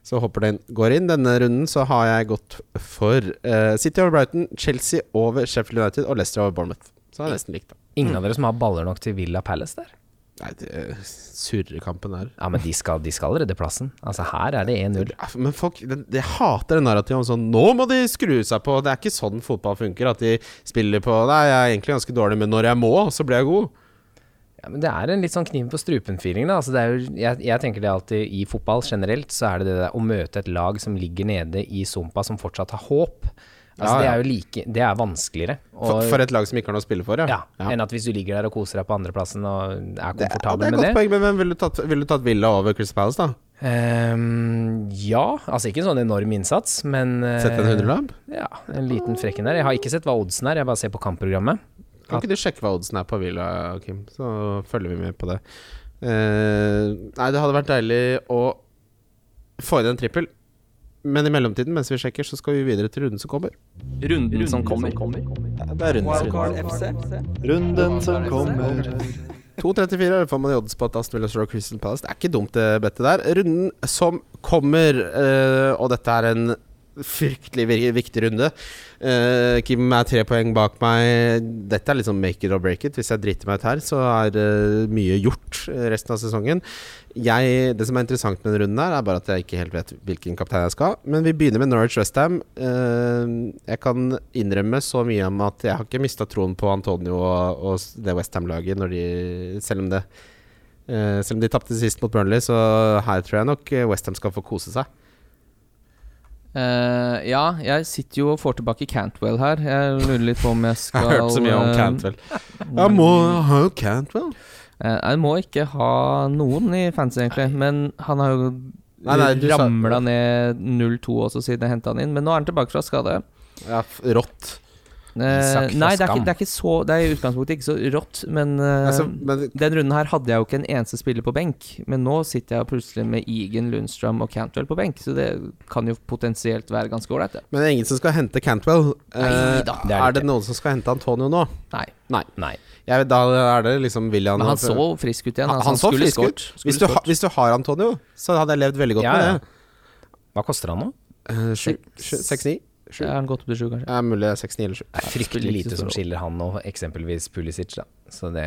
Så håper den går inn. Denne runden så har jeg gått for eh, City over Brighton, Chelsea over Sheffield United og Leicester over Bournemouth. Så det er nesten likt, da.
Ingen av dere som har baller nok til Villa Palace der?
Nei, det eh, surrekampen her.
Ja, men de skal, de skal redde plassen. Altså, her er det 1-0.
Ja, Men folk de, de hater det narrativet om sånn Nå må de skru seg på. Det er ikke sånn fotball funker. At de spiller på Nei, jeg er egentlig ganske dårlig, men når jeg må, så blir jeg god.
Ja, men det er en litt sånn kniv på strupen-feeling. da. Altså, det er jo, jeg, jeg tenker det alltid i fotball generelt, så er det det der å møte et lag som ligger nede i sumpa, som fortsatt har håp. Altså,
Ja,
Det
ja.
er jo like, det er vanskeligere. Og,
For, for et lag som ikke har noe å spille for,
ja,
ja. Ja.
Enn at hvis du ligger der og koser deg på andreplassen og er
Det, ja, det er
komfortabel
et godt
med det.
poeng, men hvem ville du tatt, ville du tatt Villa over Chris Palace, da?
Ehm, ja, altså ikke en sånn enorm innsats, men eh,
Sett en hundrelapp?
Ja, en liten frekken der. Jeg har ikke sett hva oddsen er, jeg bare ser på kampprogrammet.
Kan ikke du sjekke hva oddsen er på Villa, Kim? Så følger vi med på det. Eh, nei, det hadde vært deilig å få inn en trippel. Men i mellomtiden, mens vi sjekker, så skal vi videre til runden som kommer.
Runden som kommer.
Det er runden som
Wildcard
kommer.
FC.
Runden som kommer.
2.34 får man i odds på at Aston Villa slår Crystal Palace. Det er ikke dumt, det bettet der. Runden som kommer, eh, og dette er en fryktelig vir- viktig runde. Eh, Kim er tre poeng bak meg. Dette er liksom make it or break it. Hvis jeg driter meg ut her, så er eh, mye gjort eh, resten av sesongen. Jeg, det som er interessant med denne runden, her er bare at jeg ikke helt vet hvilken kaptein jeg skal ha. Men vi begynner med Norwich Westham. Uh, jeg kan innrømme så mye om at jeg har ikke mista troen på Antonio og, og det Westham-laget, når de- selv om det eh, Selv om de tapte sist mot Burnley, så her tror jeg nok Westham skal få kose seg.
Eh, ja, jeg sitter jo og får tilbake Cantwell her. Jeg lurer litt på om jeg skal eh,
Jeg må ha Cantwell.
Eh, jeg må ikke ha noen i fancy, egentlig. Men han har jo
Nei, nei, du sa-
ramla ned 0-2 også, siden jeg henta han inn. Men nå er han tilbake fra skade.
Ja, f- rått.
Eh,
Isak fra
nei, det er,
Skam.
ikke, det er ikke så Det er i utgangspunktet ikke så rått, men eh,
Altså, men
den runden her hadde jeg jo ikke en eneste spiller på benk, men nå sitter jeg plutselig med Egan, Lundstrøm og Cantwell på benk, så det kan jo potensielt være ganske ålreit, det.
Men det er ingen som skal hente Cantwell. Eh,
Nei da,
det er det
er det
ikke.
noen som skal hente Antonio nå?
Nei.
Nei.
Jeg, da er det liksom William
Men
og-
han så frisk ut igjen.
Han,
altså,
han så
skulle
frisk
skåret,
ut.
skulle
Hvis du, ha,
skåret.
hvis du har Antonio, så hadde jeg levd veldig godt
Ja, ja.
med det.
Hva koster han nå?
Eh, sju- sju-
Seks-
Seks, ni? Sju?
Ja,
Ja.
han gått opp til sju, kanskje.
mulig det er seks, ni eller sju.
Det er
spiller
fryktelig
ikke så
lite
stor
som
rolle.
skiller han og eksempelvis Pulisic, da. Så det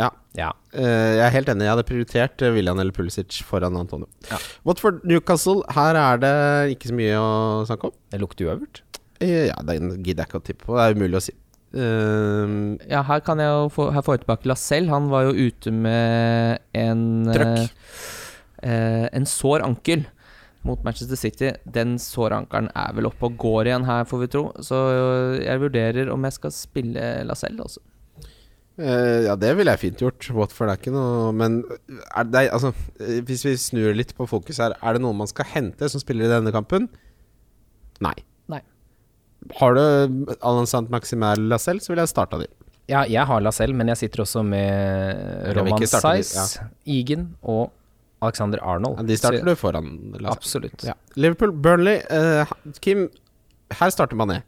Ja.
Ja.
Eh, jeg er helt enig. Jeg hadde prioritert eh, William eller Pulisic foran Antonio.
Ja.
Watford Newcastle, her er det ikke så mye å snakke om.
Det lukter uøvert.
Eh, ja, den gidder jeg ikke å tippe på. Det er umulig å si. Eh,
Ja, her kan jeg jo få, her får jeg tilbake Lacelle. Han var jo ute med en
Trøkk.
eh, eh, en sår ankel mot Manchester City. Den såre ankelen er vel oppe og går igjen her, får vi tro. Så eh, jeg vurderer om jeg skal spille Lacelle, altså.
Eh, ja, det ville jeg fint gjort. Watford er ikke noe Men er det, altså, eh, hvis vi snur litt på fokus her, er det noen man skal hente som spiller i denne kampen? Nei.
Nei.
Har du Alan Sant Maximal Lacelle, så ville jeg starta de.
Ja, jeg har Lacelle, men jeg sitter også med
vil
Roman
ikke starte de,
Saiz, Egan og Alexander Arnold.
De starter
Så-
du foran Lacelle.
Absolutt.
Ja. Liverpool, Burnley eh, Kim, her starter man ned.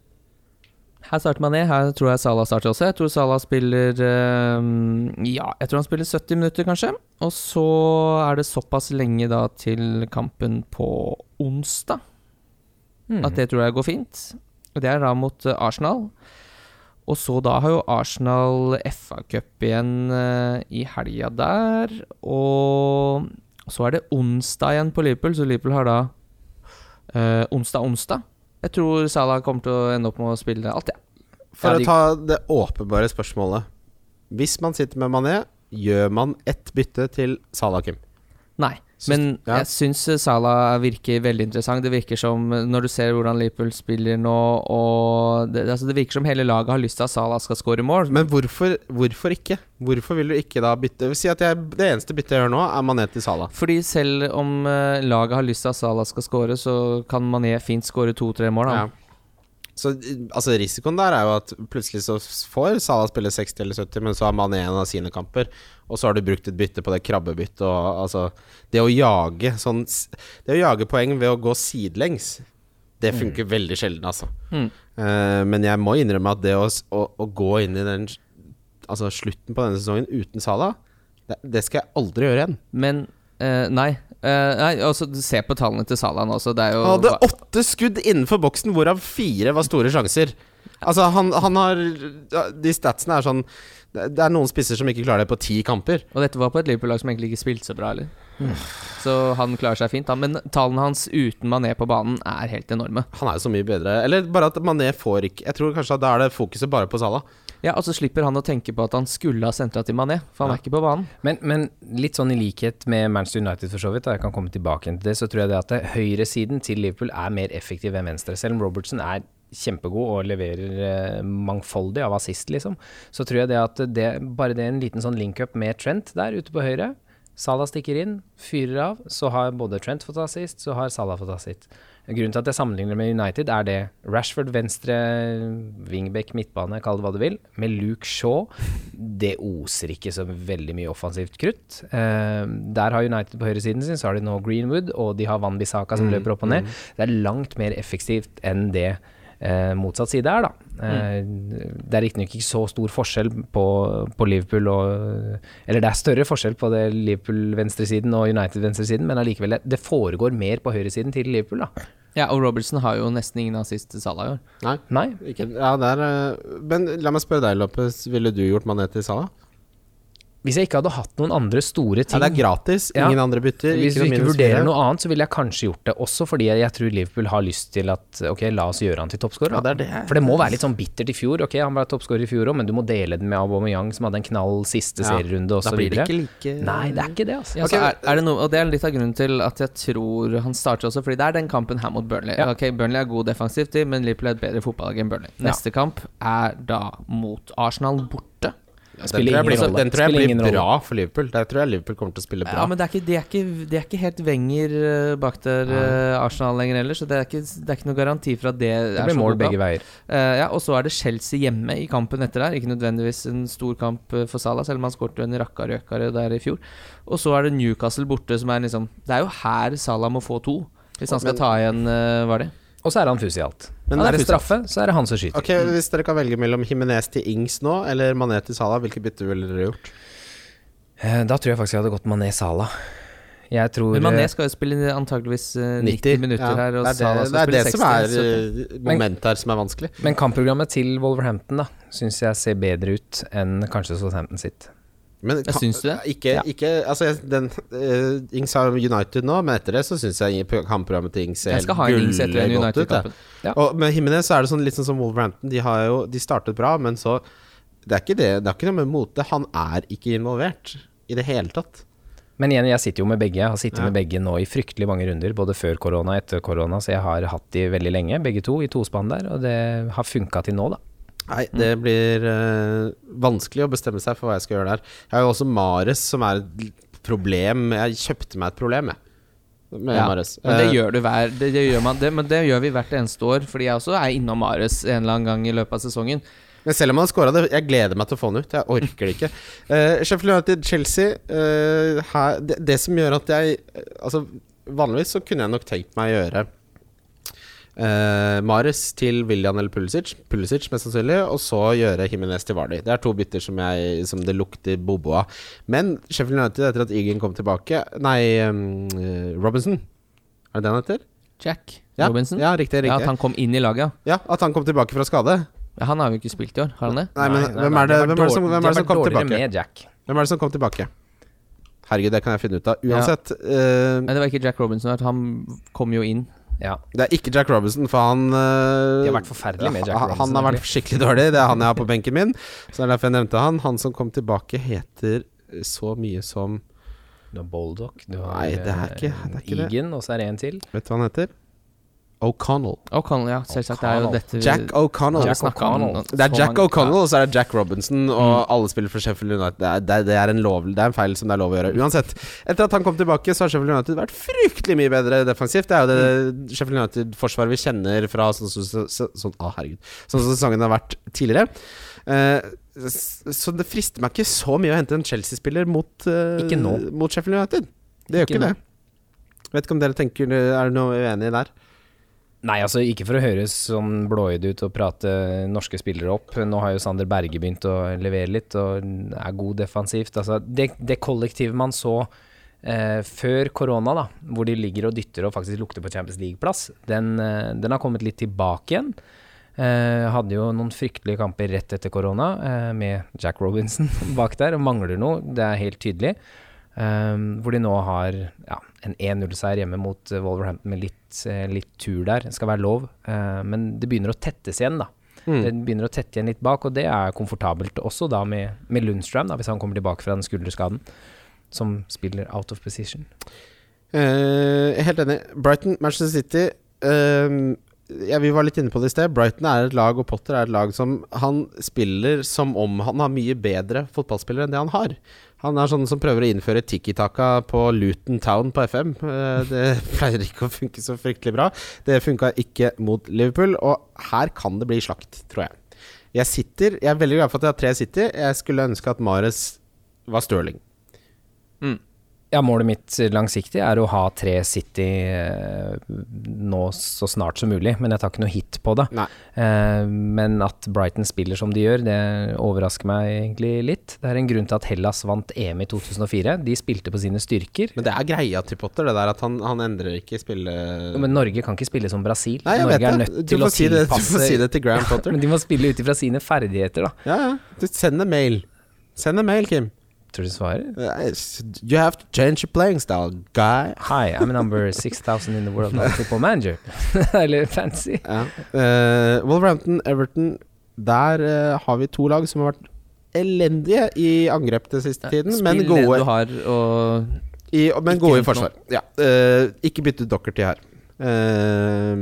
Her starter man ned. Her tror jeg Salah starter også. Jeg tror Salah spiller eh, Ja, jeg tror han spiller 70 minutter, kanskje. Og så er det såpass lenge da til kampen på onsdag. At det tror jeg går fint. Og Det er da mot eh, Arsenal. Og så da har jo Arsenal FA-cup igjen eh, i helga der. Og så er det onsdag igjen på Liverpool, så Liverpool har da eh, onsdag, onsdag. Jeg tror Salah kommer til å ende opp med å spille alt, jeg.
For
Ja, de-
å ta det åpenbare spørsmålet. Hvis man sitter med Mané, gjør man ett bytte til Salah Kim?
Nei,
Syns-
men
ja.
jeg syns eh, Salah virker veldig interessant. Det virker som, eh, når du ser hvordan Liverpool spiller nå, og det, altså det virker som hele laget har lyst til at Salah skal skåre mål.
Men hvorfor, hvorfor ikke? Hvorfor vil du ikke da bytte Si at jeg, det eneste byttet jeg gjør nå, er Mané til Salah.
Fordi selv om eh, laget har lyst til at Salah skal skåre, så kan Mané fint skåre to-tre mål. Da.
Ja. Så i- altså, risikoen der er jo at plutselig så s- får Salah spille 60 eller 70, men så har Mané en av sine kamper, og så har du brukt et bytte på det krabbebyttet og altså Det å jage sånn s- Det å jage poeng ved å gå sidelengs, det funker veldig sjelden, altså.
Mm.
Eh, men jeg må innrømme at det å, s- å, å gå inn i den s- Altså slutten på denne sesongen uten Salah, det, det skal jeg aldri gjøre igjen.
Men eh, nei. Eh, nei altså, se på tallene til Salah nå, så det er jo
Han hadde åtte skudd innenfor boksen, hvorav fire var store sjanser. Altså, han, han har De statsene er sånn Det det er noen spisser som ikke klarer det på ti kamper.
Og dette var på et Liverpool-lag som egentlig ikke spilte så bra heller. Så han klarer seg fint, da. Men tallene hans uten Mané på banen er helt enorme.
Han er jo så mye bedre. Eller bare at Mané får ikke Jeg tror kanskje at da er det fokuset bare på Salah.
Ja, Og så slipper han å tenke på at han skulle ha sentra til Mané, for han er ikke på banen.
Men, men litt sånn i likhet med Manchester United for så vidt, da jeg kan komme tilbake igjen til det, så tror jeg det at det- høyresiden til Liverpool er mer effektiv enn venstre. Selv om Robertson er kjempegod og leverer eh, mangfoldig av assist, liksom, så tror jeg det at det, bare det er en liten sånn link-up med Trent der ute på høyre Salah stikker inn, fyrer av. Så har både Trent fått assist, så har Salah fått assist. Grunnen til at jeg sammenligner med United, er det Rashford venstre, wingback midtbane, kall det hva du vil, med Luke Shaw. Det oser ikke så veldig mye offensivt krutt. Eh, der har United på høyresiden sin, så har de nå Greenwood, og de har Van Bissaka som løper opp og ned. Det er langt mer effektivt enn det eh, motsatt side er, da. Eh, Det er riktignok ikke så stor forskjell på, på Liverpool og Eller det er større forskjell på det Liverpool-venstresiden og United-venstresiden, men allikevel, det- det foregår mer på høyresiden til Liverpool, da.
Ja, og Robertson har jo nesten ingen assist til Salah i år.
Nei.
Nei,
Ikke, ja, der, eh, men la meg spørre deg, Lopez. Ville du gjort Mané til Salah?
hvis jeg ikke hadde hatt noen andre store
Ja,
ting
det er gratis.
Ja.
Ingen andre bytter.
Hvis
noe
vi ikke
minus fire.
vurderer noe annet, så ville jeg kanskje gjort det. Også fordi jeg tror Liverpool har lyst til at ok, la oss gjøre han til toppskårer.
Ja,
da.
det er det.
For det må være litt sånn bittert i fjor. Ok, han var toppskårer i fjor òg, men du må dele den med Aubameyang, som hadde en knall siste
Ja,
serierunde
Da
osv.
blir det ikke like
Nei, det er ikke det, altså.
Ja, så er, er det noe, og det er litt av grunnen til at jeg tror han starter også, fordi det er den kampen her mot Burnley.
Ja.
Ok, Burnley er god defensivt, de, men Liverpool er et bedre fotballag enn Burnley.
Ja.
Neste kamp er da mot Arsenal borte.
Den tror
spiller
jeg
ingen
blir,
rolle.
den tror jeg
Spiller ingen
blir
rolle.
bra for Liverpool. Der tror jeg Liverpool kommer til å spille bra.
Ja, men det er ikke, det er ikke, det er ikke helt Wenger eh, bak der eh, Arsenal lenger heller, så det er ikke, det er ikke noe garanti for at det,
Det
er
blir
så
mål
god kamp.
begge veier.
Eh, ja, og så er det Chelsea hjemme i kampen etter der. Ikke nødvendigvis en stor kamp eh, for Salah, selv om han skåret jo en rakkarøkare der i fjor. Og så er det Newcastle borte, som er liksom Det er jo her Salah må få to, hvis han skal
Men-
ta igjen eh, Var det?
Og så er han fus i alt.
Men
er
det
det
er
straffe, så er det han som skyter.
Ok, Hvis dere kan velge mellom Jimenez til Ings nå eller Mané til Salah, hvilke bytter ville dere gjort?
Eh, Da tror jeg faktisk jeg hadde gått Mané Salah. Jeg tror
Men Mané
eh,
skal jo spille antageligvis eh, 90, minutter
Ja,
her, og
det er
Salah
det, det, er det
skal spille 60.
som er
så-
eh, momentet her som er vanskelig.
Men kampprogrammet til Wolverhampton da syns jeg ser bedre ut enn kanskje Southampton sitt.
Men
Jeg
kan-
syns du det?
Ikke, ikke Altså, jeg- den eh, Ings har United nå, men etter det så syns jeg kampprogrammet til Ings ser
Jeg skal ha en Ings etter den
gulle godt ut. jeg.
United-kampen.
Ja.
Og med Jimenez så er det sånn, litt sånn som Wolverhampton. De, har jo, de startet bra, men så Det er ikke det Det er ikke noe med mote. Han er ikke involvert i det hele tatt.
Men igjen, jeg sitter jo med begge. Jeg har sittet med begge nå i fryktelig mange runder, både før korona og etter korona, så jeg har hatt de veldig lenge, begge to, i tospann der, og det har funka til nå, da.
Nei, det
Mm.
blir eh, vanskelig å bestemme seg for hva jeg skal gjøre der. Jeg har jo også Mares, som er et l- problem. Jeg kjøpte meg et problem, jeg. Med
Ja,
Mares.
Men det
Eh,
gjør du hver det, det gjør man, det, Men det gjør vi hvert eneste år, fordi jeg også er innom Mares en eller annen gang i løpet av sesongen.
Men selv om han scora det, jeg gleder meg til å få den ut. Jeg orker det ikke. Eh, Sheffield United-Chelsea her, det, det som gjør at jeg eh, Altså, vanligvis så kunne jeg nok tenkt meg å gjøre eh, Mares til William eller Pulisic, Pulisic mest sannsynlig, og så gjøre Jimenez til Vardy. Det er to bytter som, jeg, som det lukter bobo av. Men Sheffield United, etter at Egan kom tilbake Nei, eh, Robinson. Er det det han heter?
Jack
Ja,
Robinson.
Ja, riktig. riktig.
Ja, At han kom inn i laget, ja.
ja, at han kom tilbake fra skade.
Ja, Han har jo ikke spilt i år, har han det?
Nei, men
Nei, nei,
hvem
nei,
er det,
var
hvem er det som,
dårlig-
hvem er det som
var
kom
dårligere
tilbake?
Med Jack.
Hvem er det som kom tilbake? Herregud, det kan jeg finne ut av. Uansett, eh,
Nei, det var ikke Jack Robinson. at Han kom jo inn.
Ja.
det er ikke Jack Robinson, for han eh,
De har vært forferdelige med Jack
ha-
Robinson,
Han har vært skikkelig dårlig. Det er han jeg har på benken min. Så det er derfor jeg nevnte han. Han som kom tilbake, heter så mye som
Du har Boldock, du har eh,
Nei, det er ikke- det er ikke det.
Egan, og så er det en til.
Vet du hva han heter? O'Connell.
O'Connell, ja. Selvsagt. Det er jo
O'Connell.
dette vi-
Jack O'Connell.
har
Jack
snakket om
O'Connell.
nå-
Det er
så
Jack
mange-
O'Connell, og så er det Jack Robinson, og
Mm.
alle spiller for Sheffield United. Det er, det, er- det, er en lov, det er en feil som det er lov å gjøre. Uansett. Etter at han kom tilbake, så har Sheffield United vært fryktelig mye bedre defensivt. Det er jo
Mm.
det Sheffield United-forsvaret vi kjenner fra sånn som så, så, sånn, ah, herregud. sånn som sesongen har vært tidligere. Eh, s- så det frister meg ikke så mye å hente en Chelsea-spiller mot, eh,
Ikke nå.
mot Sheffield United. Det gjør
Ikke
ikke,
nå.
det. Vet ikke om dere tenker Er det noe uenig der?
Nei, altså ikke for å høres sånn blåøyd ut og prate norske spillere opp. Nå har jo Sander Berge begynt å levere litt og er god defensivt. Altså, det, det kollektivet man så eh, før korona, da, hvor de ligger og dytter og faktisk lukter på Champions League-plass, den, eh, den har kommet litt tilbake igjen. Eh, hadde jo noen fryktelige kamper rett etter korona eh, med Jack Robinson bak der og mangler noe, det er helt tydelig. Um, hvor de nå har ja, en 1-0-seier hjemme mot eh, Wolverhampton med litt, eh, litt tur der. Det skal være lov. eh, men det begynner å tettes igjen, da.
Mm.
Det begynner å tette igjen litt bak, og det er komfortabelt også da med, med Lundstrøm, da, hvis han kommer tilbake fra den skulderskaden. Som spiller out of position.
Eh, helt enig. Brighton, Manchester City ehm, ja, Vi var litt inne på det i sted. Brighton er et lag, og Potter er et lag som Han spiller som om han har mye bedre fotballspillere enn det han har. Han er sånn som prøver å innføre tiki-taka på Luton Town på FM. Eh, Det pleier ikke å funke så fryktelig bra. Det funka ikke mot Liverpool, og her kan det bli slakt, tror jeg. Jeg sitter, jeg er veldig glad for at jeg har tre City. Jeg skulle ønske at Mares var Stirling.
Ja, målet mitt eh, langsiktig er å ha tre City eh, nå så snart som mulig, men jeg tar ikke noe hit på det.
Nei.
Eh, men at Brighton spiller som de gjør, det overrasker meg egentlig litt. Det er en grunn til at Hellas vant EM i 2004. De spilte på sine styrker.
Men det er greia til Potter, det der at han, han endrer ikke spille...
Men Norge kan ikke spille som Brasil.
Nei, jeg
Norge
vet
er
det.
nødt
Du
til å
får, si det. du
tilpasse
får si det til Graham Potter.
Men de må spille ut ifra sine ferdigheter, da.
Ja, ja. Du, send en mail. Send en mail, Kim.
Tror du de svarer?
You have to change your playing style, guy.
Hi, I'm number 6000 in the world of football manager. Eller fancy.
Ja. Eh, Wolverhampton, Everton Der eh, har vi to lag som har vært elendige i angrep den siste tiden, men
Spill det
gode,
du har, og
i, men
ikke
gode i
hent noe.
forsvar. Ja. Eh, ikke bytte Dockerty her. Uh,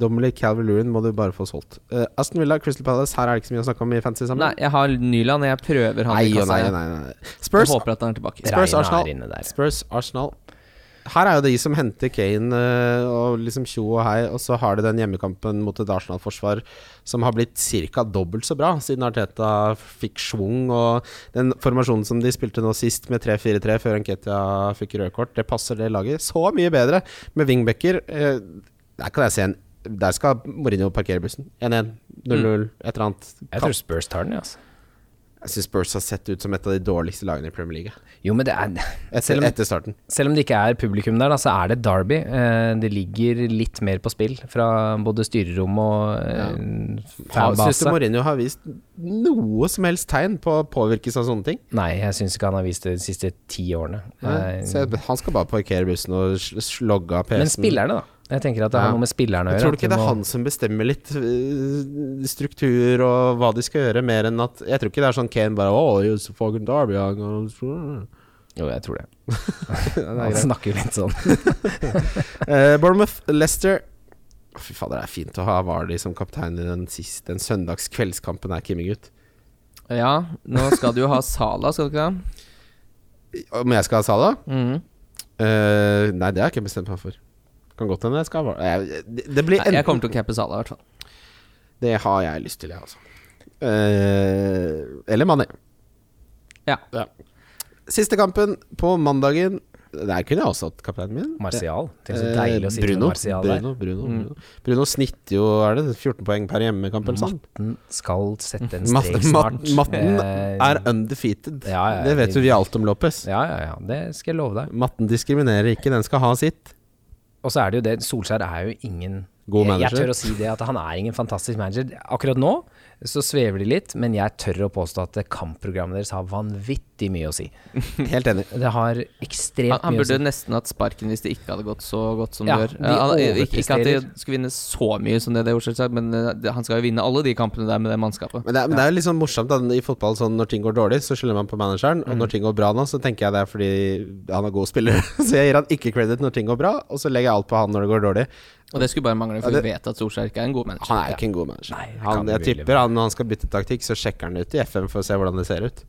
Dominic Calvert-Lewin må du bare få solgt. Eh, Aston Villa, Crystal Palace, her er det ikke så mye å snakke om i fantasy sammen.
Nei, jeg har Nyland, og jeg prøver
Sånn,
han
nei,
i
og
kassa.
nei,
jeg.
nei, nei.
Jeg
Spurs,
håper at han er tilbake.
Spurs,
Reina er
Arsenal.
inne der.
Spurs, Arsenal. Her er jo de som henter Kane eh, og liksom tjo og hei, og så har de den hjemmekampen mot et Arsenal-forsvar som har blitt ca. dobbelt så bra siden Arteta fikk schwung, og den formasjonen som de spilte nå sist med 3-4-3 før Enketia fikk røde kort, det passer det laget så mye bedre med wingbacker. Eh, Der kan jeg se en Der skal Mourinho parkere bussen. 1-1, 0-0, et eller annet.
Mm. Jeg tror Spurs tar den, jeg, altså.
Jeg syns Spurs har sett ut som et av de dårligste lagene i Premier League,
Jo, men det er
etter, etter starten.
Selv om det ikke er publikum der, da, så er det Derby. Eh, Det ligger litt mer på spill fra både styrerom og eh,
Syns du
fanbase.
Mourinho har vist noe som helst tegn på å påvirkes av sånne ting?
Nei, jeg syns ikke han har vist det de siste ti årene. Eh,
Så jeg- han skal bare parkere bussen og sl- slogge av
Men
PC-en.
spillerne, da. Jeg tenker at det har
Ja.
noe med spillerne å
Jeg
gjøre.
tror du
at
ikke
du
det er
må-
han som bestemmer litt øh, struktur og hva de skal gjøre, mer enn at Jeg tror ikke det er sånn Kane bare Oh, you're so fucking Derby I'm gonna-"
Jo, jeg tror det. han snakker jo litt sånn.
Eh, Bournemouth, Leicester Å, Fy fader, det er fint å ha Vardy som kaptein i den siste Den søndags kveldskampen her, Kimmy-gutt.
Ja, nå skal du jo ha Sala, skal du ikke det?
Om jeg skal ha Salah?
Mhm.
Eh, nei, det har jeg ikke bestemt meg for. Kan godt hende jeg skal ha Var- jeg, det, det blir
Nei, jeg
enten-
kommer til å cappe Sala, i hvert fall.
Det har jeg lyst til, jeg, altså. Eh, eller Mané.
Ja.
Siste kampen på mandagen Der kunne jeg også hatt kapteinen min.
Martial. Tenk så
Eh,
deilig å sitte
Bruno,
med Martial der. Mm.
Bruno, Bruno, Bruno. Bruno snitter jo er det 14 poeng per hjemmekamp eller sånn.
Matten skal sette en
Mat-
strek
mat-
snart.
Matten
Mm. Eh,
er undefeated.
Ja, ja, ja.
Det vet jo vi alt om Lopez.
Ja, ja, ja. Det skal jeg love deg.
Matten diskriminerer ikke, den skal ha sitt.
Og så er det jo det, Solskjær er jo ingen
God
jeg, jeg
manager.
tør å si det, at han er ingen fantastisk manager. Akkurat nå så svever de litt, men jeg tør å påstå at kampprogrammet deres har vanvittig mye å si.
Helt enig.
Det har
Han,
ekstremt
han
mye å
burde
si.
nesten hatt sparken hvis det ikke hadde gått så godt som
Ja,
det gjør.
de
Eh, han, ikke, ikke at de
overpresterer.
skulle vinne så mye som det de gjorde, selvsagt, men eh, det- han skal jo vinne alle de kampene der med det mannskapet.
Men det er, men det er jo litt sånn morsomt da, i fotball sånn, når ting går dårlig, så skylder man på manageren. Og når ting går bra nå, så tenker jeg det er fordi han er god spiller. så jeg gir han ikke credit når ting går bra, og så legger jeg alt på han når det går dårlig.
Og det skulle bare mangle, for
Ja, det-
vi vet at Solskjær ikke er en god manager.
Han er jo ikke en god manager.
Nei, det kan
han,
du
jeg
virkelig
tipper han når han skal bytte taktikk, så sjekker han ut i FM for å se hvordan det ser ut.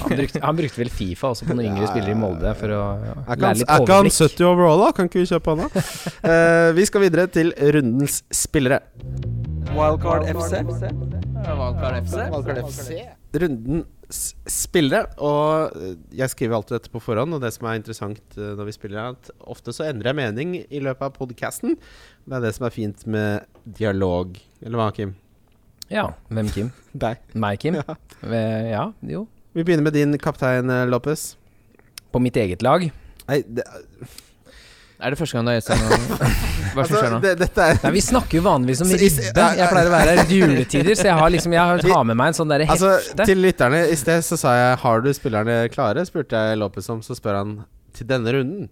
Han brukte, han brukte vel Fifa også på noen yngre spillere i Molde for å ja,
Er ikke
lære
han-
litt
er ikke han
overblikk.
70 overall, da? Kan ikke vi kjøpe han, da? Eh, vi skal videre til rundens spillere.
Wildcard FC.
rundens spillere. Og eh, jeg skriver alltid dette på forhånd, og det som er interessant eh, når vi spiller, er at ofte så endrer jeg mening i løpet av podkasten. Det er det som er fint med dialog. Eller hva, Kim?
Ja, hvem Kim?
Deg.
Meg, Kim? Eh, Ja, jo.
Vi begynner med din kaptein, eh, Lopez.
På mitt eget lag.
Nei, det,
Er det første gang du har gjesta nå? Hva er det som skjer
altså,
nå?
det, dette er
Nei, Vi snakker jo vanligvis om
Så i-
ribbe. Jeg pleier å være her i juletider, så jeg har liksom Jeg har med meg en sånn derre hefte.
Altså, til lytterne i sted så sa jeg 'Har du spillerne klare?' spurte jeg Lopez om, så spør han 'til denne runden'.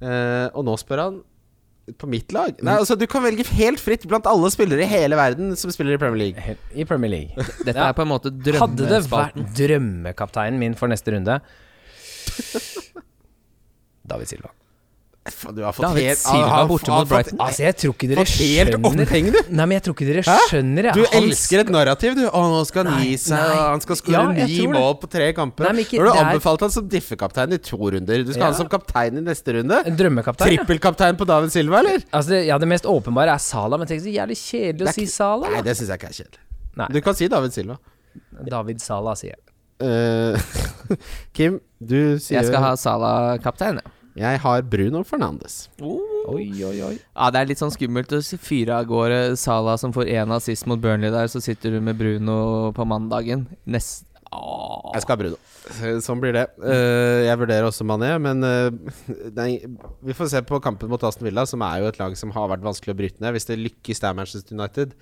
Eh, og nå spør han på mitt lag. Nei, altså Du kan velge helt fritt blant alle spillere i hele verden som spiller i Premier League.
I Premier League.
Dette er på en måte
Hadde det vært
drømmespalten.
drømmekapteinen min for neste runde David Silva.
Faen, Du har fått
David
helt Ah,
Silva
har-
borte
har
mot
fått-
Brighton.
Altså, jeg tror ikke dere
Fått helt
skjønner
omheng, du.
Nei, men jeg tror ikke dere
Hæ?
skjønner
Du
jeg. Han
elsker et narrativ, du. Å, nå skal han gi seg,
nei.
og han skal skåre
Ja, jeg
ni
tror det.
mål på tre kamper.
Nei, men ikke
Nå har du
der.
anbefalt han som diffekaptein i to runder. Du skal ha han som kaptein i neste runde.
En drømmekaptein. Ja.
Trippelkaptein på David Silva, eller?
Altså, det, ja, det mest åpenbare er Sala, men tenk så jævlig kjedelig å si Sala.
Nei,
Da.
det syns jeg ikke er kjedelig.
Nei.
Du kan si David Silva.
David Sala, sier jeg.
Eh, Kim, du sier
Jeg skal ha Salah kaptein, ja.
Jeg har Bruno Fernandes.
Oi, oi, oi.
Ja, Det er litt sånn skummelt å si- fyre av gårde Salah som får én assist mot Burnley der, så sitter du med Bruno på mandagen. Nest... Åh.
Jeg skal ha Bruno. Eh, Sånn blir det. Eh, jeg vurderer også Mané, men eh, nei, vi får se på kampen mot Aston Villa, som er jo et lag som har vært vanskelig å bryte ned. Hvis det lykkes der Manchester United,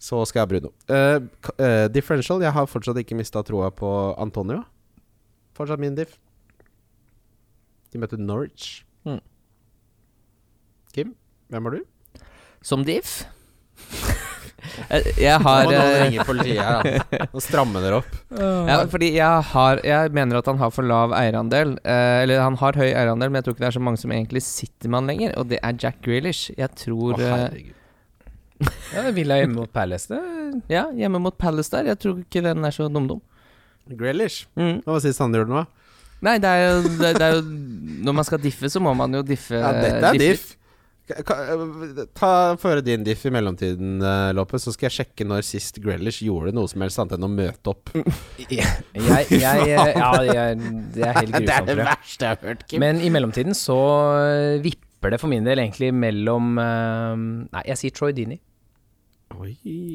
så skal jeg ha Bruno. Eh, k- eh, differential, jeg har fortsatt ikke mista troa på Antonio. Fortsatt min diff. De møtte Norwich.
Mm.
Kim, hvem har du?
Som diff. Jeg- jeg har
Nå må noen
eh,
ringe politiet her, altså. da. Nå strammer dere opp.
ja, Fordi jeg har Jeg mener at han har for lav eierandel. Eh, eller han har høy eierandel, men jeg tror ikke det er så mange som egentlig sitter med han lenger, og det er Jack Grealish. Jeg tror
Å,
eh,
herregud.
Ja, Villa hjemme mot Palace, det
Ja, hjemme mot Palace der. Jeg tror ikke den er så dum-dum.
Grealish.
Mm.
Hva var sist han gjorde noe?
Nei, det er, jo, det, det er jo Når man skal diffe, så må man jo diffe.
Ja, dette
diffe.
er diff. Ka- ka- Ta Føre din diff i mellomtiden, eh, Lopez, så skal jeg sjekke når sist Grealish gjorde noe som helst annet enn å møte opp.
Jeg, jeg, ja, jeg, det er helt
det er
grusomt,
det
tror jeg.
verste jeg har hørt, Kim.
Men i mellomtiden så eh, vipper det for min del egentlig mellom eh, Nei, jeg sier Troy Dini.
Oi.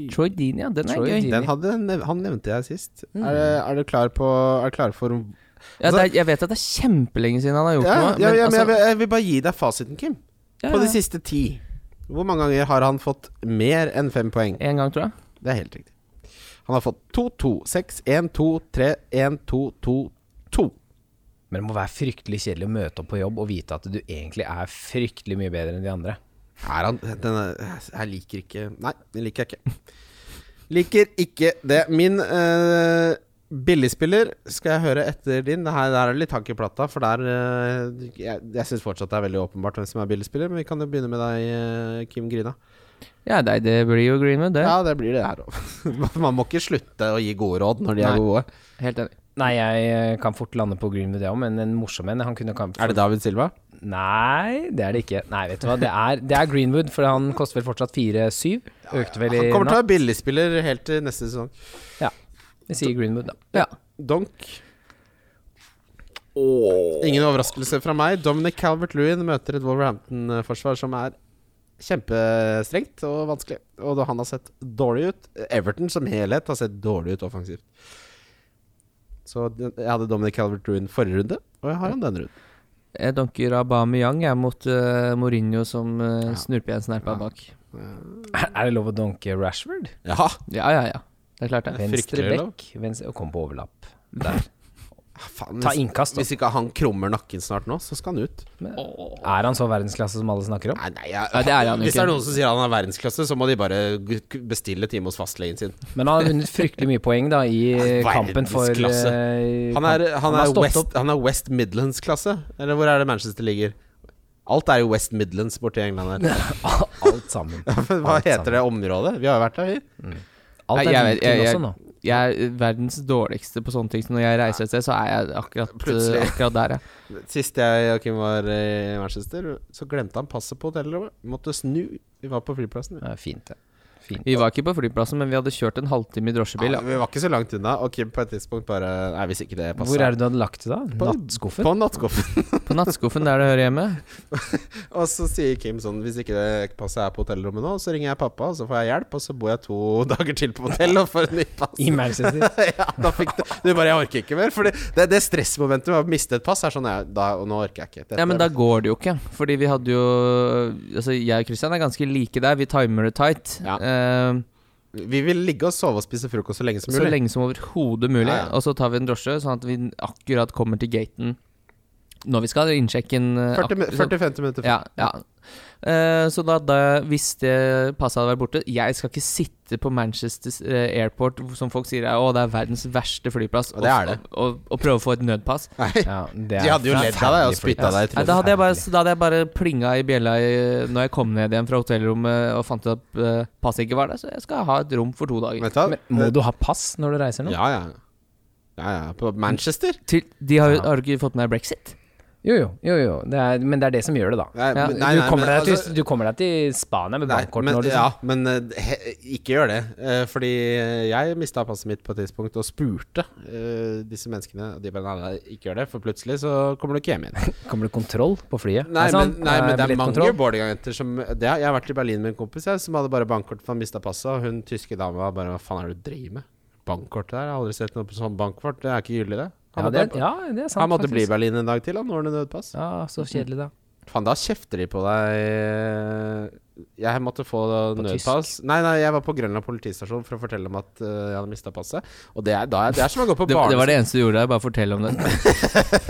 Troy Dean, ja. Den er
Troy
gøy.
Deeney.
Den hadde, han nevnte jeg sist. Er, det- er du klar på Er du klar for
Ja, det er, jeg vet at det er kjempelenge siden han har gjort
Altså- ja,
noe.
ja, ja, men
altså-
jeg, vil, jeg vil bare gi deg fasiten, Kim.
Ja,
På de
ja.
siste ti. Hvor mange ganger har han fått mer enn fem poeng?
En gang, tror jeg.
Det er helt riktig. Han har fått 2-2, 6, 1, 2, 3, 1, 2, 2, 2.
Men det må være fryktelig kjedelig å møte opp på jobb og vite at du egentlig er fryktelig mye bedre enn de andre.
Er han denne, Jeg liker ikke Nei, den liker jeg ikke. Liker ikke det. Min eh, billigspiller skal jeg høre etter din. Det her, der er det litt hakk i plata, for der eh, Jeg, jeg syns fortsatt det er veldig åpenbart hvem som er billigspiller, men vi kan jo begynne med deg, eh, Kim Grina.
Ja, nei, det blir jo Greenwood, det.
Ja, det blir det her òg. Man må ikke slutte å gi gode råd når de
Nei.
er gode.
Helt enig.
Nei, jeg eh, kan fort lande på Greenwood, jeg òg, men en morsom en Han kunne kan-
Er det David Silva?
Nei, det er det ikke. Nei, vet du hva. Det er, det er Greenwood, for han koster vel fortsatt 4-7. Økte vel i
Han kommer til å
natt.
være billigspiller helt til neste sesong.
Vi sier Greenwood, da.
Ja.
Donk. Ingen overraskelse fra meg. Dominic Calvert-Lewin møter et Wolverhampton-forsvar som er kjempestrengt og vanskelig. Og da han har sett dårlig ut Everton som helhet har sett dårlig ut offensivt. Så den- jeg hadde Dominic Calvert-Lewin forrige runde, og jeg har han denne runden.
Jeg dunker Aubameyang jeg, mot eh, Mourinho, som uh, snurper jeg en snerpa bak.
Er er det lov å donke Rashford?
Ja,
Ja, ja, ja. Det er klart, det.
Venstre
fryktelig lov.
bekk. Venstre, og kom på overlapp. Der.
Ah, faen,
Ta
hvis,
innkast. Da.
hvis ikke han krummer nakken snart nå, så skal han ut.
Er han så verdensklasse som alle snakker om?
Nei, nei, jeg,
Nei, det er han jo
Hvis det er
ikke.
noen som sier han er verdensklasse, så må de bare g- bestille time hos fastlegen sin.
Men han har vunnet fryktelig mye poeng da i eh, kampen for
Verdensklasse.
eh,
Han er,
kamp-
han
har
er,
stått
West,
opp.
han er West Midlands-klasse. Eller hvor er det Manchester ligger? Alt er jo West Midlands borti England her.
Alt sammen.
Hva heter det området? Vi har jo vært der, vi.
Alt
Nei,
er
jeg vet-
Viken
jeg-
også nå.
Jeg er verdens dårligste på sånne ting, så når jeg reiser et sted, så er jeg akkurat,
Plutselig.
eh, akkurat der, ja.
Sist jeg og Kim var i Manchester, så glemte han passet på hotellrommet. Måtte snu. Vi var på flyplassen. vi.
Ja, fint, det. Fint.
Vi var ikke på flyplassen, men vi hadde kjørt en halvtime i drosjebil.
Ja,
Ja.
vi var ikke så langt unna, og Kim på et tidspunkt bare Nei, hvis ikke det passer
Hvor er det du hadde lagt det, da?
På-
Nattskuffen?
På nattskuffen.
På nattskuffen der det hører hjemme.
og så sier Kim sånn Hvis ikke det passet er på hotellrommet nå, så ringer jeg pappa, og så får jeg hjelp, og så bor jeg to dager til på hotell og får et nytt pass.
I Manchester?
ja, da fikk du, du bare 'jeg orker ikke mer'. For det, det, det stressmomentet med å miste et pass er sånn jeg, da, og 'nå orker jeg ikke'. Dette-
Ja, men da går det jo ikke. Fordi vi hadde jo Altså, jeg og Christian er ganske like der. Vi timer det tight.
Ja.
Eh,
Vi vil ligge og sove og spise frokost så lenge som
så
mulig.
lenge som overhodet mulig.
Ja, ja.
Og så tar vi en drosje, sånn at vi akkurat kommer til gaten når vi skal innsjekke en eh,
40
ak-
mi-
sånn-
40-50 minutter. før.
Ja, ja. Eh, så da, da hvis det passet hadde vært borte Jeg skal ikke sitte på Manchester eh, Airport, som folk sier er, å, det er verdens verste flyplass,
Og det er det.
Og, og, og prøve å få et nødpass.
Ja, det
De
er
hadde jo ledd av deg og
forferdelig
spytta deg i
flyplass.
Nei,
trynet.
da, hadde jeg bare, da hadde jeg bare plinga i bjella i, når jeg kom ned igjen fra hotellrommet og fant ut at eh, passet ikke var der, så jeg skal ha et rom for to dager.
Vet du hva? Eh,
Men må du ha pass når du reiser nå?
Ja, ja. Ja, ja. På Manchester?
Til, de har, jo- har du ikke fått med deg brexit?
Jo, jo, jo, jo. Det er, men det er det som gjør det, da.
Nei,
Ja.
men-
du, kommer
men
deg til,
altså-
du kommer deg til Spania med
Nei,
bankkort
men,
nå,
ja,
liksom.
men eh, he, ikke gjør det. Eh, fordi jeg mista passet mitt på et tidspunkt og spurte eh, disse menneskene. Og de bare nei, nei, ikke gjør det, for plutselig så kommer du ikke hjem igjen.
Kommer det kontroll på flyet?
Nei,
Er det
men,
sant? Eh,
nei, men det er mange
billettkontroll?
boardingagenter som eh, det, har- Jeg har vært i Berlin med en kompis jeg, som hadde bare bankkort for han mista passet. Og hun tyske dama bare Hva faen er det du driver med? Bankkort der? Jeg har aldri sett noe på sånn bankkort. Det er ikke gyldig, det. Han
Ja, det,
måtte,
ja, det er sant.
han måtte
faktisk.
bli i Berlin en dag til, han, når han nødpass.
Ja, så kjedelig, da.
Faen, da kjefter de på deg. Jeg måtte få
tysk.
nødpass. Nei, nei, jeg var på Grønland politistasjon for å fortelle dem at eh, jeg hadde mista passet. Og det er, da, er- det er som å gå på
Det, det var
barneskole.
det eneste du gjorde der, bare fortell om det.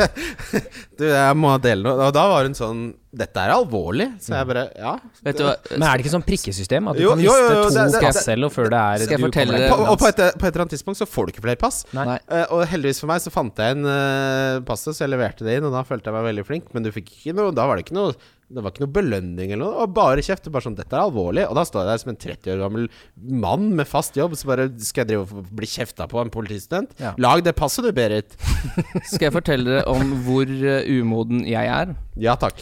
Du, jeg må dele noe. Og da var hun sånn Dette er alvorlig. Så
Mm.
jeg bare Ja.
Vet du hva?
Men er det ikke sånn prikkesystem? At du
Jo,
kan
jo, jo, jo,
miste
det-
to
det-
passello før det er
Skal jeg
du
fortelle
kommer
deg-
deg
På,
til
og på
lands?
et, på et eller annet tidspunkt så får du ikke flere pass.
Nei.
Nei.
Eh, og heldigvis for meg så fant jeg inn eh, passet, så jeg leverte det inn. Og da følte jeg meg veldig flink, men du fikk ikke noe Da var det ikke noe det var ikke noe belønning eller noe. Det var bare kjeft. Bare sånn 'Dette er alvorlig.' Og da står jeg der som en 30 år gammel mann med fast jobb, så bare skal jeg drive og bli kjefta på av en politistudent?
Ja.
Lag det passet du, Berit.
Skal jeg fortelle dere om hvor eh, umoden jeg er?
Ja takk.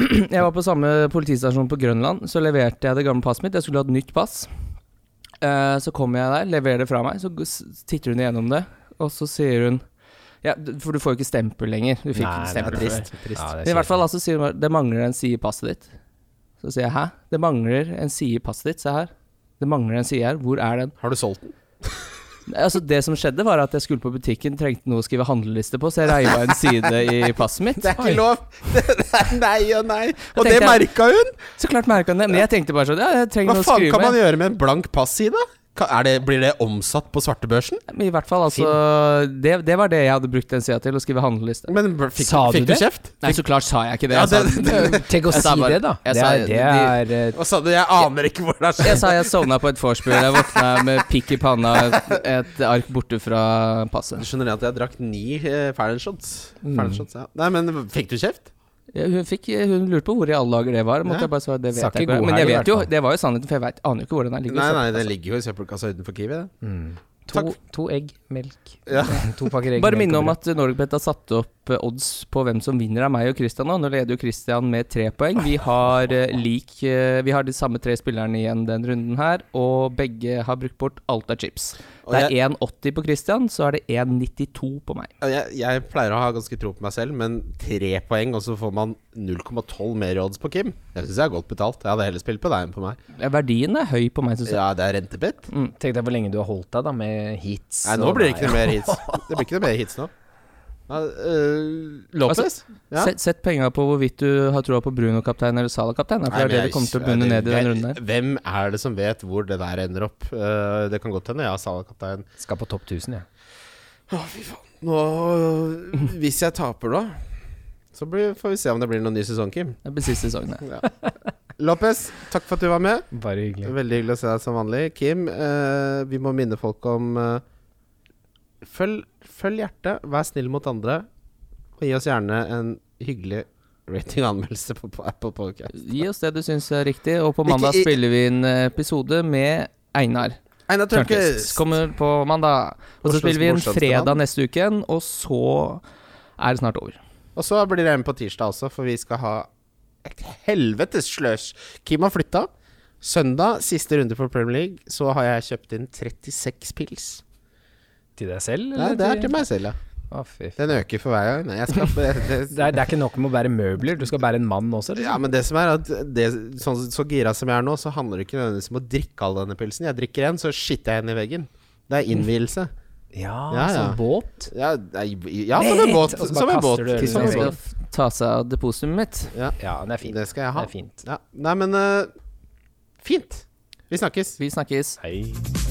Jeg var på samme politistasjon på Grønland. Så leverte jeg det gamle passet mitt. Jeg skulle ha et nytt pass. Eh, Så kommer jeg der, leverer det fra meg. Så g- s- titter hun igjennom det, og så sier hun ja, d- For du får jo ikke stempel lenger. Du fikk
Nei, det
ikke
er
stempel før.
trist. trist. Ja, det
Men
er
i hvert fall altså, sier hun bare det mangler en side i passet ditt. Så sier jeg hæ? Det mangler en side i passet ditt, se her. Det mangler en side her, hvor er den?
Har du solgt den?
Altså Det som skjedde, var at jeg skulle på butikken, trengte noe å skrive handleliste på, så jeg reiva en side i passet mitt.
Det er ikke lov! Det er nei og nei. Og
Jeg
det
tenkte-
merka hun!
Så klart merka han det, men jeg tenkte bare sånn Ja, jeg trenger
Hva
noe å
faen
skrive
kan man
med.
gjøre med en blank passide? Ka- Er det, blir det omsatt på svartebørsen?
Men I hvert fall, altså det, det var det jeg hadde brukt den sida til, å skrive handleliste.
Men bl- fikk,
Sa du
fikk du
det?
kjeft?
Nei, så klart sa jeg ikke det.
Ja,
Jeg sa,
det-
Tenk å
Jeg
si
sa bare-
det, da.
jeg
Det
sa-
er, det er eh,
Hva sa du? Jeg aner ikke hvor det har skjedd.
jeg, sa jeg sovna på et vorspiel. Jeg våkna med pikk i panna, et, et ark borte fra
Du
passet.
skjønner at jeg drakk ni eh, Fallon shots? Fallon shots ja. Nei, men fikk du kjeft?
Ja, Hun, fikk, hun lurte på hvor i alle dager det var.
Ja.
Måtte jeg bare svare, det
Sa
vet
ikke
jeg ikke.
god
Men
helg, i
jeg vet jo,
hvert fall.
det var jo sannheten, for jeg vet, aner jo ikke hvor den her ligger.
Nei,
så-
nei, den ligger jo i søppelkassa utenfor Kiwi. det.
Mm. eh, to, to egg, melk,
Ja.
to pakker egg.
Bare
melk
minne
og
om
brød.
at Norgebet har satt opp eh, odds på hvem som vinner av meg og Christian nå. Nå leder jo Christian med tre poeng. Vi har, eh, lik, eh, vi har de samme tre spillerne igjen den runden her, og begge har brukt bort alt av chips.
Og
Det er 1,80 på Christian, så er det 1,92 på meg.
Og Jeg, jeg pleier å ha ganske tro på meg selv, men tre poeng, og så får man 0,12 mer i odds på Kim. Jeg syns jeg er godt betalt. Jeg hadde heller spilt på deg enn på meg.
Eh, Verdien er høy på meg, syns jeg.
Ja, det er rentebit.
Tenk deg hvor lenge du har holdt deg da med hits.
Nei, nå
og-
blir det ikke noe mer hits. Det blir ikke noe mer hits nå. Ja, eh, Lopez? Ja.
Sett, sett penga på hvorvidt du har troa på Bruno-kaptein eller Salah-kaptein. da,
Nei,
For det er det
men
det kommer til å
jeg-
bunne
jeg-
ned i den
jeg-
runden her.
Hvem er det som vet hvor det der ender opp? Eh, det kan godt hende jeg har Salah-kaptein.
Skal på topp 1000, jeg.
Nå, hvis jeg taper da Så blir, får vi se om det blir noen ny sesong, Kim
Det blir siste sesongen. her.
Lopez, takk for at du var med
Ja. Bare hyggelig.
Veldig hyggelig å se deg som vanlig Kim, eh, vi må minne folk om eh, følg, følg hjertet, vær snill mot andre Og gi oss gjerne en hyggelig rating-anmeldelse på, på Apple Podcast
Gi oss det du syns er riktig, og på
Ikke
mandag
i-
spiller vi en episode med Einar.
Einar
Tørnquist
Tørkes
kommer på mandag. Og så
Oslos
spiller vi en
morsomste
fredag
mann.
neste uke, igjen, og så er det snart over.
Og så blir det en på tirsdag også, for vi skal ha et helvetes sløs. Kim har flytta. Søndag, siste runde for Premier League, så har jeg kjøpt inn 36 pils.
Til deg selv?
Nei,
eller
det er til meg selv, ja.
Å, fy f-
Den øker for hver gang. Nei, jeg skal det,
Det er, det er ikke nok med å bære møbler, du skal bære en mann også.
Ja,
Liksom.
men det som er at det, sånn, Så gira som jeg er nå, så handler det ikke nødvendigvis om å drikke all denne pilsen. Jeg drikker en, så skitter jeg henne i veggen. Det er innvielse.
Ja,
Ja, ja.
som båt.
Ja, nei, ja som en båt.
Og så bare
Som en
kaster
båt.
du ølen i
Som en
veggen.
båt.
Skal f- ta seg av depositumet mitt.
Ja, det er fint.
Det skal jeg ha.
Det er fint.
Ja. Nei, men eh, Fint. Vi snakkes.
Vi snakkes.
Hei.